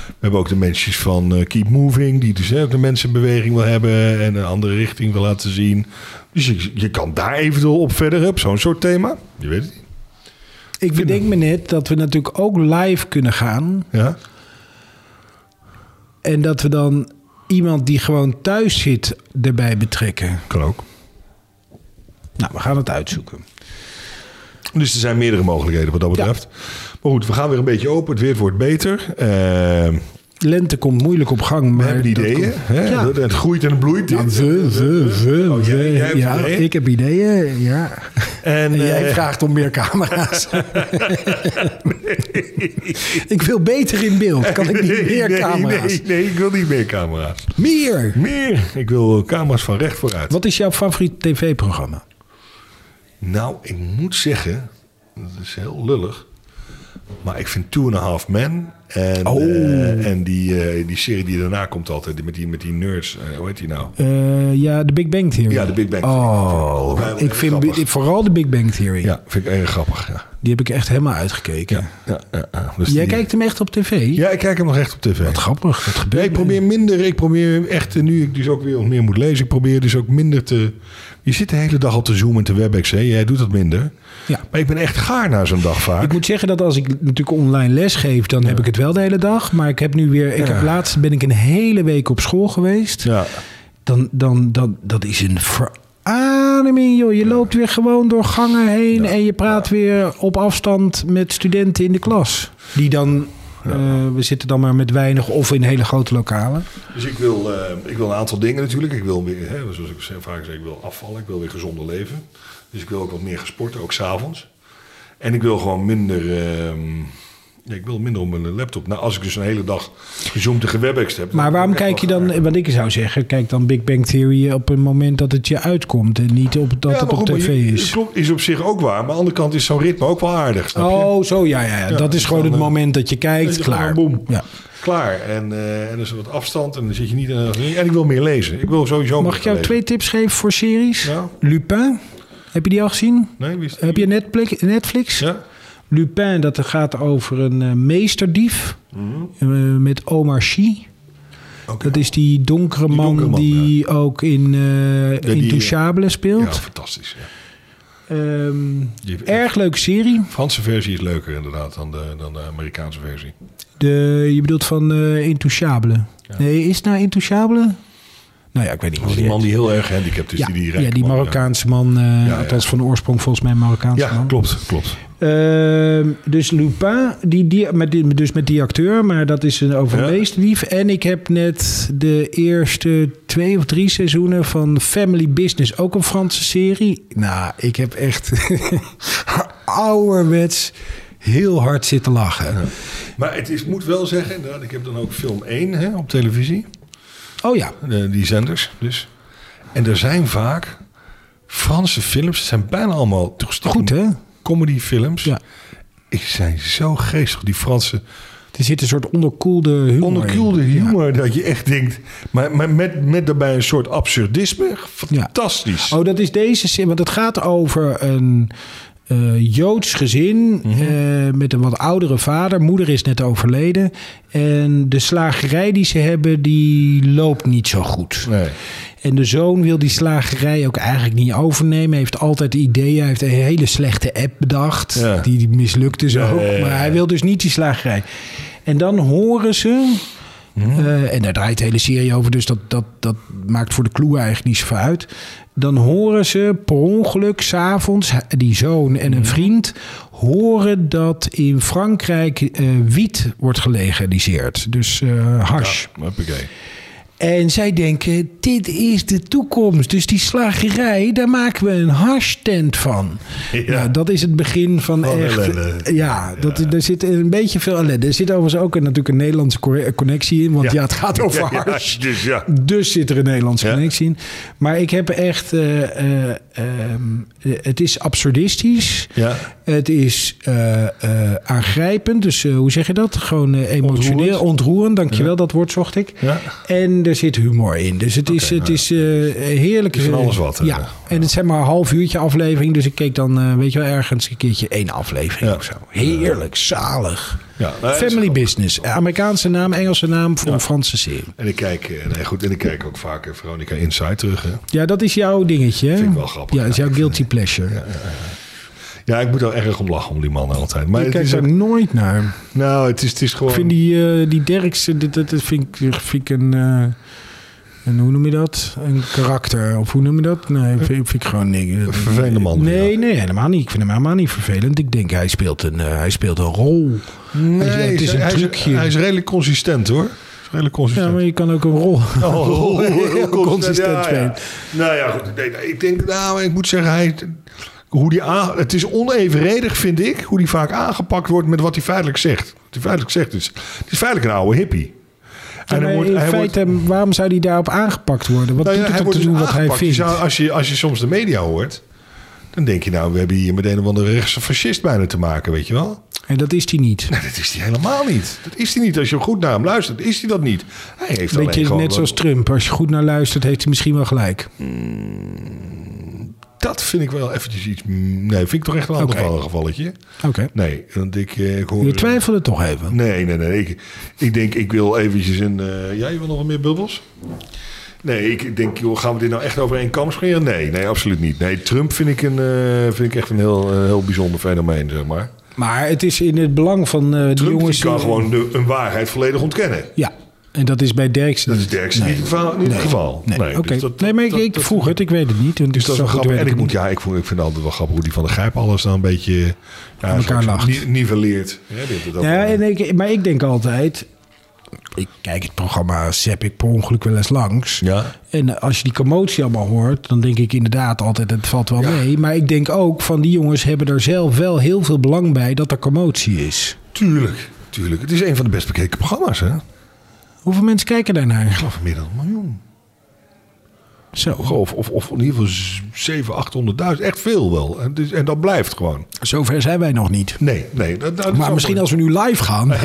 Speaker 2: we hebben ook de mensen van eh, Keep Moving, die dus hè, ook de mensenbeweging wil hebben en een andere richting wil laten zien. Dus je, je kan daar eventueel op verder, op zo'n soort thema. Je weet het niet.
Speaker 1: Ik bedenk me net dat we natuurlijk ook live kunnen gaan.
Speaker 2: Ja,
Speaker 1: En dat we dan iemand die gewoon thuis zit erbij betrekken.
Speaker 2: kan ook.
Speaker 1: Nou, we gaan het uitzoeken.
Speaker 2: Dus er zijn meerdere mogelijkheden wat dat betreft. Maar goed, we gaan weer een beetje open. Het weer wordt beter. Eh,
Speaker 1: Lente komt moeilijk op gang. Maar
Speaker 2: we hebben
Speaker 1: dat
Speaker 2: ideeën.
Speaker 1: komt-
Speaker 2: Hè?
Speaker 1: Ja.
Speaker 2: Het groeit en het bloeit.
Speaker 1: Ja, we, we, we,
Speaker 2: Oh, jij-
Speaker 1: we.
Speaker 2: jij hebt
Speaker 1: ja,
Speaker 2: ideeën?
Speaker 1: ik heb ideeën, ja.
Speaker 2: En,
Speaker 1: En jij
Speaker 2: eh,
Speaker 1: vraagt om meer
Speaker 2: [laughs]
Speaker 1: camera's. [laughs] ik wil beter in beeld. Kan ik niet meer
Speaker 2: [laughs] nee,
Speaker 1: camera's?
Speaker 2: Nee, nee, ik wil niet meer camera's.
Speaker 1: Meer!
Speaker 2: Meer. Ik wil camera's van recht vooruit.
Speaker 1: Wat is jouw favoriete tv-programma?
Speaker 2: Nou, ik moet zeggen, dat is heel lullig. Maar ik vind Two and a Half Men en,
Speaker 1: Oh.
Speaker 2: eh, en die, eh, die serie die daarna komt altijd, die met die, met die nerds, eh, hoe heet die nou?
Speaker 1: Eh, ja, de Big Bang Theory.
Speaker 2: Ja, de Big Bang Theory.
Speaker 1: Oh,
Speaker 2: Vind ik wel
Speaker 1: ik vind
Speaker 2: grappig.
Speaker 1: ik- vooral de Big Bang Theory.
Speaker 2: Ja, vind ik erg grappig. Ja.
Speaker 1: Die heb ik echt helemaal uitgekeken.
Speaker 2: Ja, ja, ja, ja. Dus
Speaker 1: Jij
Speaker 2: die-
Speaker 1: kijkt hem echt op tv?
Speaker 2: Ja, ik kijk hem nog echt op tv.
Speaker 1: Wat grappig. Wat
Speaker 2: Ja,
Speaker 1: gebeurt
Speaker 2: ik probeer minder, ik probeer echt, eh, nu ik dus ook weer wat meer moet lezen, ik probeer dus ook minder te... Je zit de hele dag op te zoomen en te webex, hè? jij doet dat minder.
Speaker 1: Ja.
Speaker 2: Maar ik ben echt gaar na zo'n dag vaak.
Speaker 1: Ik moet zeggen dat als ik natuurlijk online les geef, dan heb ik het wel de hele dag. Maar ik heb nu weer, ik heb laatst ben ik een hele week op school geweest.
Speaker 2: Ja.
Speaker 1: Dan, dan, dan, dat is een verademing, joh. Je loopt weer gewoon door gangen heen en je praat weer op afstand met studenten in de klas. Die dan, eh, we zitten dan maar met weinig of in hele grote lokalen.
Speaker 2: Dus ik wil, eh, ik wil een aantal dingen natuurlijk. Ik wil weer, hè, zoals ik ze- vaak zeg, ik wil afvallen. Ik wil weer gezonder leven. Dus ik wil ook wat meer gaan sporten, ook s'avonds. En ik wil gewoon minder... ehm, ja, ik wil minder op mijn laptop. Nou, als ik dus een hele dag gezoomd en gewebexed heb...
Speaker 1: Maar
Speaker 2: dan
Speaker 1: waarom
Speaker 2: heb ik
Speaker 1: kijk
Speaker 2: echt
Speaker 1: je
Speaker 2: wel
Speaker 1: dan,
Speaker 2: gaar.
Speaker 1: wat ik zou zeggen, kijk dan Big Bang Theory op een moment dat het je uitkomt en niet op, dat
Speaker 2: Ja,
Speaker 1: het
Speaker 2: maar
Speaker 1: op
Speaker 2: goed, maar
Speaker 1: tv
Speaker 2: je-
Speaker 1: is.
Speaker 2: het Klopt, is op zich ook waar. Maar aan de andere kant is zo'n ritme ook wel aardig. Snap je?
Speaker 1: Oh, zo, ja, ja. ja.
Speaker 2: Ja,
Speaker 1: dat
Speaker 2: dus
Speaker 1: is gewoon
Speaker 2: dan,
Speaker 1: het
Speaker 2: eh,
Speaker 1: moment dat je kijkt,
Speaker 2: dat je
Speaker 1: klaar.
Speaker 2: gewoon boem.
Speaker 1: Ja.
Speaker 2: Klaar. En, eh en er is wat afstand. En dan zit je niet... eh, en ik wil meer lezen. Ik wil sowieso
Speaker 1: Mag
Speaker 2: meer
Speaker 1: ik jou
Speaker 2: lezen.
Speaker 1: twee tips geven voor series?
Speaker 2: Ja.
Speaker 1: Lupin, heb je die al gezien?
Speaker 2: Nee, wie is die?
Speaker 1: Heb je Netflix? Netflix?
Speaker 2: Ja?
Speaker 1: Lupin, dat gaat over een eh, meesterdief eh, met Omar Sy.
Speaker 2: Mhm. Oké.
Speaker 1: Dat is die donkere
Speaker 2: Die
Speaker 1: man die,
Speaker 2: donkere man,
Speaker 1: ook in eh
Speaker 2: die,
Speaker 1: Intouchable
Speaker 2: Ja,
Speaker 1: speelt.
Speaker 2: fantastisch. ja.
Speaker 1: Ehm,
Speaker 2: Die heeft-
Speaker 1: erg leuke serie.
Speaker 2: Franse versie is leuker inderdaad dan de, dan de Amerikaanse versie.
Speaker 1: De, je bedoelt van eh Intouchable. Nee, is het nou Intouchable? Nou ja, ik weet niet. hoe
Speaker 2: Oh, Die
Speaker 1: die
Speaker 2: man die heel erg gehandicapt is,
Speaker 1: ja,
Speaker 2: die die
Speaker 1: ja, die Marokkaanse man, eh,
Speaker 2: ja.
Speaker 1: althans van oorsprong volgens mij een Marokkaanse
Speaker 2: Ja,
Speaker 1: man.
Speaker 2: klopt, klopt.
Speaker 1: Ehm, dus Lupin, die, die, met die, dus met die acteur, maar dat is een
Speaker 2: Ja.
Speaker 1: overmeest lief. En ik heb net de eerste twee of drie seizoenen van Family Business, ook een Franse serie. Nou, ik heb echt [laughs] ouderwets heel hard zitten lachen.
Speaker 2: Maar het is, moet wel zeggen, inderdaad, ik heb dan ook film 1 hè, op televisie,
Speaker 1: Oh ja,
Speaker 2: eh, die zenders dus. En er zijn vaak Franse films. Het zijn bijna allemaal toch toch
Speaker 1: Goed, hè?
Speaker 2: comedyfilms.
Speaker 1: Ja.
Speaker 2: Ik zijn zo geestig. Die Franse
Speaker 1: Er zit een soort onderkoelde humor in.
Speaker 2: onderkoelde
Speaker 1: Ja.
Speaker 2: humor. Dat je echt denkt. Maar, maar met, met daarbij een soort absurdisme. Fantastisch.
Speaker 1: Oh, dat is deze zin. Want het gaat over een eh, Joods gezin
Speaker 2: Mhm.
Speaker 1: eh, met een wat oudere vader. Moeder is net overleden. En de slagerij die ze hebben, die loopt niet zo goed.
Speaker 2: Nee.
Speaker 1: En de zoon wil die slagerij ook eigenlijk niet overnemen. Hij heeft altijd ideeën. Hij heeft een hele slechte app bedacht.
Speaker 2: Ja.
Speaker 1: Die, die mislukte zo.
Speaker 2: Ja, ja, ja,
Speaker 1: Maar hij
Speaker 2: ja.
Speaker 1: wil dus niet die slagerij. En dan horen ze...
Speaker 2: Mhm.
Speaker 1: eh, en daar draait de hele serie over, dus dat, dat, dat maakt voor de clue eigenlijk niet zoveel uit. Dan horen ze per ongeluk s'avonds, die zoon en
Speaker 2: Mhm.
Speaker 1: een vriend, horen dat in Frankrijk eh, wiet wordt gelegaliseerd. Dus eh hash.
Speaker 2: Hoppakee.
Speaker 1: En zij denken, dit is de toekomst. Dus die slagerij, daar maken we een hashtent van.
Speaker 2: Ja.
Speaker 1: Nou, dat is het begin van
Speaker 2: Van
Speaker 1: echt...
Speaker 2: ellende.
Speaker 1: Ja, dat, er zit een beetje veel ellende. Er zit overigens ook een, natuurlijk een Nederlandse co- connectie in. Want ja,
Speaker 2: Ja.
Speaker 1: het gaat over
Speaker 2: [laughs] Ja, ja,
Speaker 1: hash.
Speaker 2: dus ja.
Speaker 1: Dus zit er een Nederlandse
Speaker 2: Ja.
Speaker 1: connectie in. Maar ik heb echt... eh, eh, ehm, eh, het is absurdistisch.
Speaker 2: Ja.
Speaker 1: Het is eh, eh, aangrijpend. Dus eh, hoe zeg je dat? Gewoon eh, emotioneel.
Speaker 2: Ontroerend.
Speaker 1: Ontroerend, dankjewel. Dat woord zocht ik.
Speaker 2: Ja. nou,
Speaker 1: En er zit humor in. Dus het is, het is eh heerlijk.
Speaker 2: Het is van alles wat, eh. hè?
Speaker 1: Ja. En het zijn maar een half uurtje aflevering. Dus ik keek dan, eh, weet je wel, ergens een keertje één aflevering
Speaker 2: Ja.
Speaker 1: of zo. Heerlijk, zalig.
Speaker 2: Ja, nou, het is
Speaker 1: Family
Speaker 2: grappig.
Speaker 1: business. Eh, Amerikaanse naam, Engelse naam voor een Franse serie.
Speaker 2: En ik kijk, eh, nee, goed, en ik kijk ook vaker Veronica Inside terug. Hè.
Speaker 1: Ja, dat is jouw dingetje. hè?
Speaker 2: Vind ik wel grappig,
Speaker 1: Ja, dat is
Speaker 2: ja.
Speaker 1: jouw guilty pleasure.
Speaker 2: Ja, ik moet er erg om lachen om die man altijd. Maar
Speaker 1: ik
Speaker 2: het
Speaker 1: kijk
Speaker 2: is,
Speaker 1: daar
Speaker 2: ook-
Speaker 1: nooit naar.
Speaker 2: nou, het is, het is gewoon.
Speaker 1: Ik vind die, eh, die Derksen, dat, dat, dat vind, ik, vind ik een, eh, een... Hoe noem je dat? Een karakter. Of hoe noem je dat? Nee, vind, vind ik gewoon... niks.
Speaker 2: Een vervelende man,
Speaker 1: Nee, nee, helemaal niet. Ik vind hem helemaal niet vervelend. Ik denk, hij speelt een, eh, hij speelt een rol.
Speaker 2: Nee,
Speaker 1: het is een
Speaker 2: hij
Speaker 1: trucje.
Speaker 2: Hij is redelijk consistent hoor. Is redelijk
Speaker 1: Ja,
Speaker 2: consistent.
Speaker 1: maar je kan ook een rol
Speaker 2: Oh,
Speaker 1: [laughs] heel consistent
Speaker 2: ja, ja.
Speaker 1: spelen.
Speaker 2: Nou ja, goed. Nee, nee, ik denk, nou, ik moet zeggen, hij, hoe die aan, het is onevenredig, vind ik, hoe die vaak aangepakt wordt met wat hij feitelijk zegt. Wat hij feitelijk zegt is, het is feitelijk een oude hippie.
Speaker 1: Ja, maar
Speaker 2: hij wordt-
Speaker 1: in
Speaker 2: hij wordt-
Speaker 1: feite, waarom zou hij daarop aangepakt worden? Wat
Speaker 2: Nou ja,
Speaker 1: doet het
Speaker 2: hij
Speaker 1: ook
Speaker 2: wordt
Speaker 1: te
Speaker 2: dus
Speaker 1: doen wat hij
Speaker 2: aangepakt. Je
Speaker 1: vindt?
Speaker 2: zou- als, je, als je soms de media hoort, dan denk je nou, we hebben hier met een of andere rechtse fascist bijna te maken, weet je wel.
Speaker 1: En dat is hij niet.
Speaker 2: Nou, dat is hij helemaal niet. Dat is hij niet. Als je goed naar hem luistert, is hij dat niet. Hij heeft alleen
Speaker 1: Weet je,
Speaker 2: gewoon...
Speaker 1: net
Speaker 2: wat-
Speaker 1: zoals Trump. Als je goed naar luistert, heeft hij misschien wel gelijk.
Speaker 2: Dat vind ik wel eventjes iets... mm, Nee, vind ik toch echt een ander
Speaker 1: Oké.
Speaker 2: gevalletje.
Speaker 1: Oké.
Speaker 2: Nee, want ik, eh, ik hoor...
Speaker 1: Je twijfelde toch even.
Speaker 2: Nee, nee, nee. Ik, ik denk, ik wil eventjes een... eh ja, je wil nog wat meer bubbels? Nee, ik- ik denk, joh, gaan we dit nou echt over één kam scheren? Nee, nee, absoluut niet. Nee, Trump vind ik, een, eh, vind ik echt een heel, eh, heel bijzonder fenomeen, zeg maar.
Speaker 1: Maar het is in het belang van eh de
Speaker 2: Trump die
Speaker 1: jongens...
Speaker 2: kan gewoon de, een waarheid volledig ontkennen.
Speaker 1: Ja, en dat is bij Derksen
Speaker 2: Dat is Derksen niet het geval. Niet het geval.
Speaker 1: Nee,
Speaker 2: Nee,
Speaker 1: oké.
Speaker 2: dus dat-
Speaker 1: nee, maar ik,
Speaker 2: dat-
Speaker 1: ik
Speaker 2: dat-
Speaker 1: vroeg het. Ik weet het niet.
Speaker 2: Dus dat is
Speaker 1: zo
Speaker 2: wel
Speaker 1: goed
Speaker 2: grappig.
Speaker 1: weet
Speaker 2: En ik,
Speaker 1: het
Speaker 2: moet,
Speaker 1: niet.
Speaker 2: ja, ik, vond, ik vind het altijd wel grappig hoe die van de Grijp alles dan een beetje... Ja, een
Speaker 1: elkaar
Speaker 2: soort
Speaker 1: lacht.
Speaker 2: ni- Nivelleert. Ja, die heeft het ook-
Speaker 1: Ja, en ik, maar ik denk altijd... Ik kijk het programma Sepp ik per ongeluk wel eens langs.
Speaker 2: ja.
Speaker 1: En als je die commotie allemaal hoort, dan denk ik inderdaad altijd, het valt wel
Speaker 2: Ja.
Speaker 1: mee. Maar ik denk ook van die jongens hebben er zelf wel heel veel belang bij dat er commotie is.
Speaker 2: Tuurlijk, tuurlijk. Het is een van de best bekeken programma's, hè? Ik
Speaker 1: Hoeveel mensen kijken daarnaar?
Speaker 2: geloof meer dan een miljoen.
Speaker 1: Zo,
Speaker 2: Oh, Of, of, of in ieder geval z- 700, 800.000. Echt veel wel. En, dus, en dat blijft gewoon.
Speaker 1: zover zijn wij nog niet.
Speaker 2: Nee, nee. Dat, dat is
Speaker 1: Maar
Speaker 2: ook-
Speaker 1: misschien als we nu live gaan. [laughs]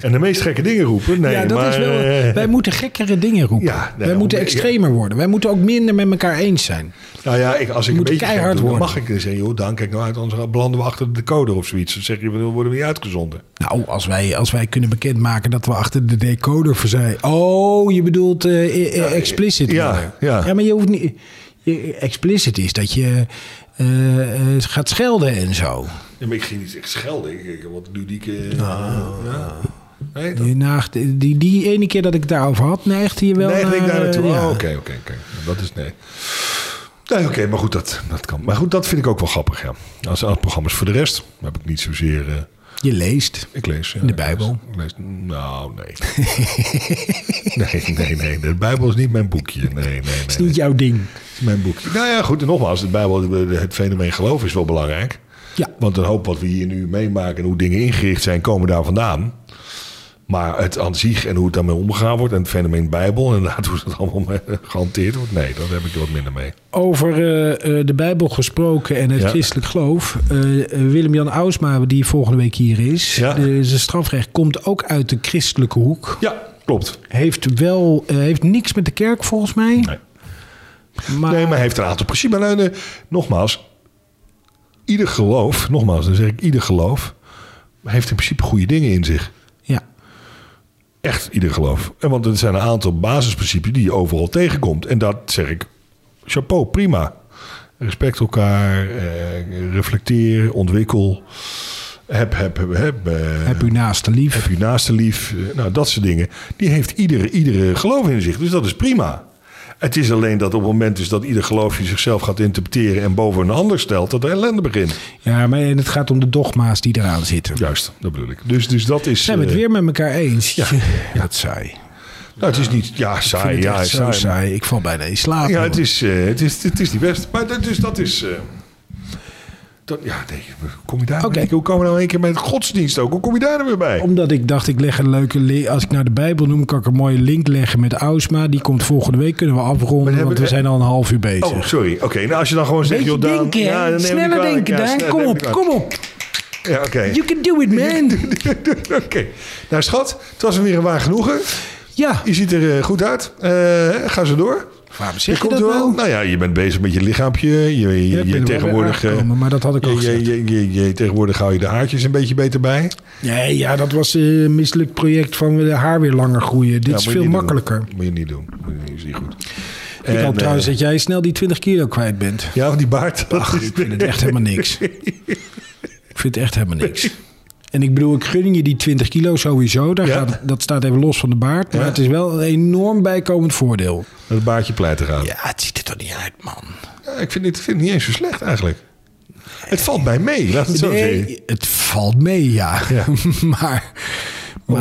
Speaker 2: En de meest gekke dingen roepen. Nee,
Speaker 1: ja, dat
Speaker 2: maar,
Speaker 1: is wel,
Speaker 2: eh,
Speaker 1: wij moeten gekkere dingen roepen.
Speaker 2: Ja, nee,
Speaker 1: wij moeten
Speaker 2: om-
Speaker 1: extremer worden. Wij moeten ook minder met elkaar eens zijn.
Speaker 2: Nou ja, ik, als ik een
Speaker 1: moet
Speaker 2: beetje
Speaker 1: keihard
Speaker 2: gek doe, dan
Speaker 1: worden.
Speaker 2: mag ik dan zeggen, joh, dan kijk nou uit, anders belanden we achter de decoder of zoiets. Dan zeg je, we worden weer uitgezonden.
Speaker 1: Nou, als wij, als wij kunnen bekendmaken dat we achter de decoder voor zijn. Oh, je bedoelt eh, eh, eh, explicit.
Speaker 2: ja,
Speaker 1: worden.
Speaker 2: ja.
Speaker 1: ja, maar je hoeft niet. je- explicit is dat je eh, eh, gaat schelden en zo.
Speaker 2: Ja, maar ik ging niet echt schelden. Ik, ik wat ludieke... ja. Nee, dat,
Speaker 1: Die, nacht- die, die ene keer dat ik het daarover had, neigde je wel.
Speaker 2: nee, ik denk
Speaker 1: naar,
Speaker 2: daar naartoe.
Speaker 1: eh,
Speaker 2: Oh,
Speaker 1: ja.
Speaker 2: Oké, oké, oké. Dat is nee. Nee, oké, maar goed, dat, dat kan. Maar goed, dat vind ik ook wel grappig, ja. Als, als programma's voor de rest heb ik niet zozeer... eh,
Speaker 1: Je leest.
Speaker 2: Ik lees. ja,
Speaker 1: De
Speaker 2: ik
Speaker 1: Bijbel?
Speaker 2: lees- ik lees- nou, nee. [laughs] nee, nee, nee. De Bijbel is niet mijn boekje. Nee, nee, nee.
Speaker 1: Het is
Speaker 2: nee.
Speaker 1: niet jouw ding.
Speaker 2: Het is mijn boekje. Nou ja, goed. En nogmaals, de Bijbel, het fenomeen geloof is wel belangrijk.
Speaker 1: Ja.
Speaker 2: Want een hoop wat we hier nu meemaken en hoe dingen ingericht zijn, komen daar vandaan. Maar het aan zich en hoe het daarmee omgegaan wordt... en het fenomeen Bijbel en [laughs] hoe het allemaal eh, gehanteerd wordt... nee, daar heb ik er wat minder mee.
Speaker 1: Over eh, eh, de Bijbel gesproken en het
Speaker 2: Ja.
Speaker 1: christelijk geloof. Eh, eh, Willem-Jan Ausma, die volgende week hier is.
Speaker 2: Ja.
Speaker 1: de- zijn strafrecht komt ook uit de christelijke hoek.
Speaker 2: Ja, klopt.
Speaker 1: Heeft wel, eh, heeft niks met de kerk volgens mij.
Speaker 2: Nee.
Speaker 1: Maar,
Speaker 2: Nee, maar hij heeft een aantal principes. Maar nou, eh, nogmaals, ieder geloof, nogmaals, dan zeg ik ieder geloof, heeft in principe goede dingen in zich.
Speaker 1: Ja.
Speaker 2: Echt ieder geloof. En want er zijn een aantal basisprincipes die je overal tegenkomt. En dat zeg ik, chapeau, prima. Respect elkaar, eh, reflecteer, ontwikkel. Heb, heb, heb, heb, eh,
Speaker 1: Heb u naast de lief.
Speaker 2: heb je naaste lief, eh, nou, dat soort dingen. Die heeft iedere, iedere geloof in zich. Dus dat is prima. Het is alleen dat op het moment dus dat ieder geloofje zichzelf gaat interpreteren en boven een ander stelt, dat er ellende begint.
Speaker 1: Ja, maar en het gaat om de dogma's die eraan zitten.
Speaker 2: Juist, dat bedoel ik. Dus, dus dat is.
Speaker 1: Zijn we het
Speaker 2: eh,
Speaker 1: weer met elkaar eens?
Speaker 2: Ja.
Speaker 1: [laughs] Dat saai. Ik
Speaker 2: Nou, het is niet. Ja,
Speaker 1: vind
Speaker 2: saai.
Speaker 1: het
Speaker 2: ja,
Speaker 1: echt zo
Speaker 2: saai.
Speaker 1: saai. Ik val bijna in slaap.
Speaker 2: Ja,
Speaker 1: hoor.
Speaker 2: het is, eh, het, is, het is niet best. Maar dat, dus dat is. eh, dat, ja, nee, hoe kom je daar?
Speaker 1: Oké.
Speaker 2: Okay. Hoe komen we nou een keer met godsdienst ook? Hoe kom je daar nou weer bij?
Speaker 1: Omdat ik dacht, ik leg een leuke... li- Als ik naar de Bijbel noem, kan ik een mooie link leggen met Ausma. Die komt volgende week, kunnen we afronden,
Speaker 2: hebben-
Speaker 1: want we zijn al een half uur bezig.
Speaker 2: Oh, sorry. Oké, nou als je dan gewoon zegt,
Speaker 1: Beetje
Speaker 2: joh, Daan,
Speaker 1: denken,
Speaker 2: ja,
Speaker 1: hè?
Speaker 2: dan neem ik
Speaker 1: sneller
Speaker 2: kwalijk.
Speaker 1: denken,
Speaker 2: Ja,
Speaker 1: Daan.
Speaker 2: sneller
Speaker 1: Kom
Speaker 2: neem
Speaker 1: op,
Speaker 2: ik
Speaker 1: kom op.
Speaker 2: Ja, oké.
Speaker 1: You can do it,
Speaker 2: [laughs]
Speaker 1: man.
Speaker 2: Oké. Nou, schat, het was weer een waar genoegen.
Speaker 1: Ja,
Speaker 2: Je ziet er eh, goed uit. Eh, ga zo door.
Speaker 1: Waarom zeg je
Speaker 2: komt
Speaker 1: dat
Speaker 2: wel.
Speaker 1: nou?
Speaker 2: Nou ja, je bent bezig met je lichaampje. Je, je,
Speaker 1: Ja, ik ben
Speaker 2: je
Speaker 1: er wel
Speaker 2: tegenwoordig.
Speaker 1: bij
Speaker 2: eh,
Speaker 1: aangekomen, maar dat had ik al
Speaker 2: je, je,
Speaker 1: gezegd.
Speaker 2: je, je, je- tegenwoordig hou je de haartjes een beetje beter bij.
Speaker 1: nee, ja, dat was eh, een misselijk project van de haar weer langer groeien. Dit
Speaker 2: Ja,
Speaker 1: is
Speaker 2: moet je
Speaker 1: veel
Speaker 2: niet
Speaker 1: makkelijker.
Speaker 2: Doen. Moet je niet doen. Moet je niet- Is niet goed.
Speaker 1: Ik
Speaker 2: En,
Speaker 1: hoop trouwens
Speaker 2: eh,
Speaker 1: dat jij snel die 20 kilo kwijt bent.
Speaker 2: ja, want die baard.
Speaker 1: [laughs] Ach, ik vind het echt helemaal niks. Ik vind het echt helemaal niks. En ik bedoel, ik gun je die 20 kilo sowieso. Daar
Speaker 2: Ja.
Speaker 1: gaat, dat staat even los van de baard. Maar
Speaker 2: Ja.
Speaker 1: het is wel een enorm bijkomend voordeel.
Speaker 2: dat baardje pleiten gaan.
Speaker 1: Ja, het ziet er toch niet uit, man.
Speaker 2: Ja, ik vind het, vind het niet eens zo slecht eigenlijk. Het valt bij mee. Laat het zo zeggen.
Speaker 1: Nee, het valt mee, ja.
Speaker 2: Ja.
Speaker 1: [laughs] maar
Speaker 2: Om
Speaker 1: maar
Speaker 2: het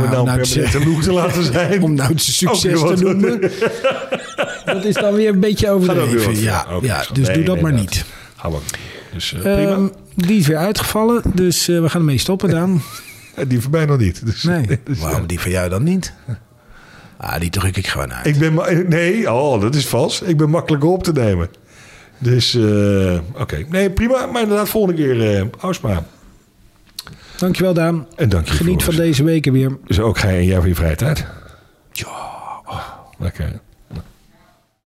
Speaker 2: nou een
Speaker 1: nou te zeggen-
Speaker 2: permanente look te laten zijn.
Speaker 1: om nou het succes
Speaker 2: Ook weer
Speaker 1: te
Speaker 2: wat.
Speaker 1: noemen. dat is dan weer een beetje
Speaker 2: Gaat ook weer wat
Speaker 1: overdreven. Ja,
Speaker 2: voor. Oké,
Speaker 1: ja,
Speaker 2: schat.
Speaker 1: dus
Speaker 2: Nee,
Speaker 1: doe dat
Speaker 2: nee,
Speaker 1: maar niet.
Speaker 2: Hou maar. Dus eh,
Speaker 1: Ehm,
Speaker 2: prima.
Speaker 1: die is weer uitgevallen, dus eh, we gaan ermee stoppen,
Speaker 2: [laughs]
Speaker 1: Daan.
Speaker 2: Eh, Die voorbij nog niet. Dus,
Speaker 1: Nee.
Speaker 2: dus, eh,
Speaker 1: Waarom die van jou dan niet? Ah, die druk ik gewoon uit.
Speaker 2: ik ben ma- nee, oh, dat is vals. Ik ben makkelijk op te nemen. Dus, eh, oké. Nee, prima. Maar inderdaad, volgende keer eh Ausma.
Speaker 1: Dankjewel, Daan.
Speaker 2: En dank je
Speaker 1: Geniet
Speaker 2: voor
Speaker 1: van deze weken weer.
Speaker 2: Dus ook jij en jij voor je vrije tijd.
Speaker 1: Ja.
Speaker 2: Lekker.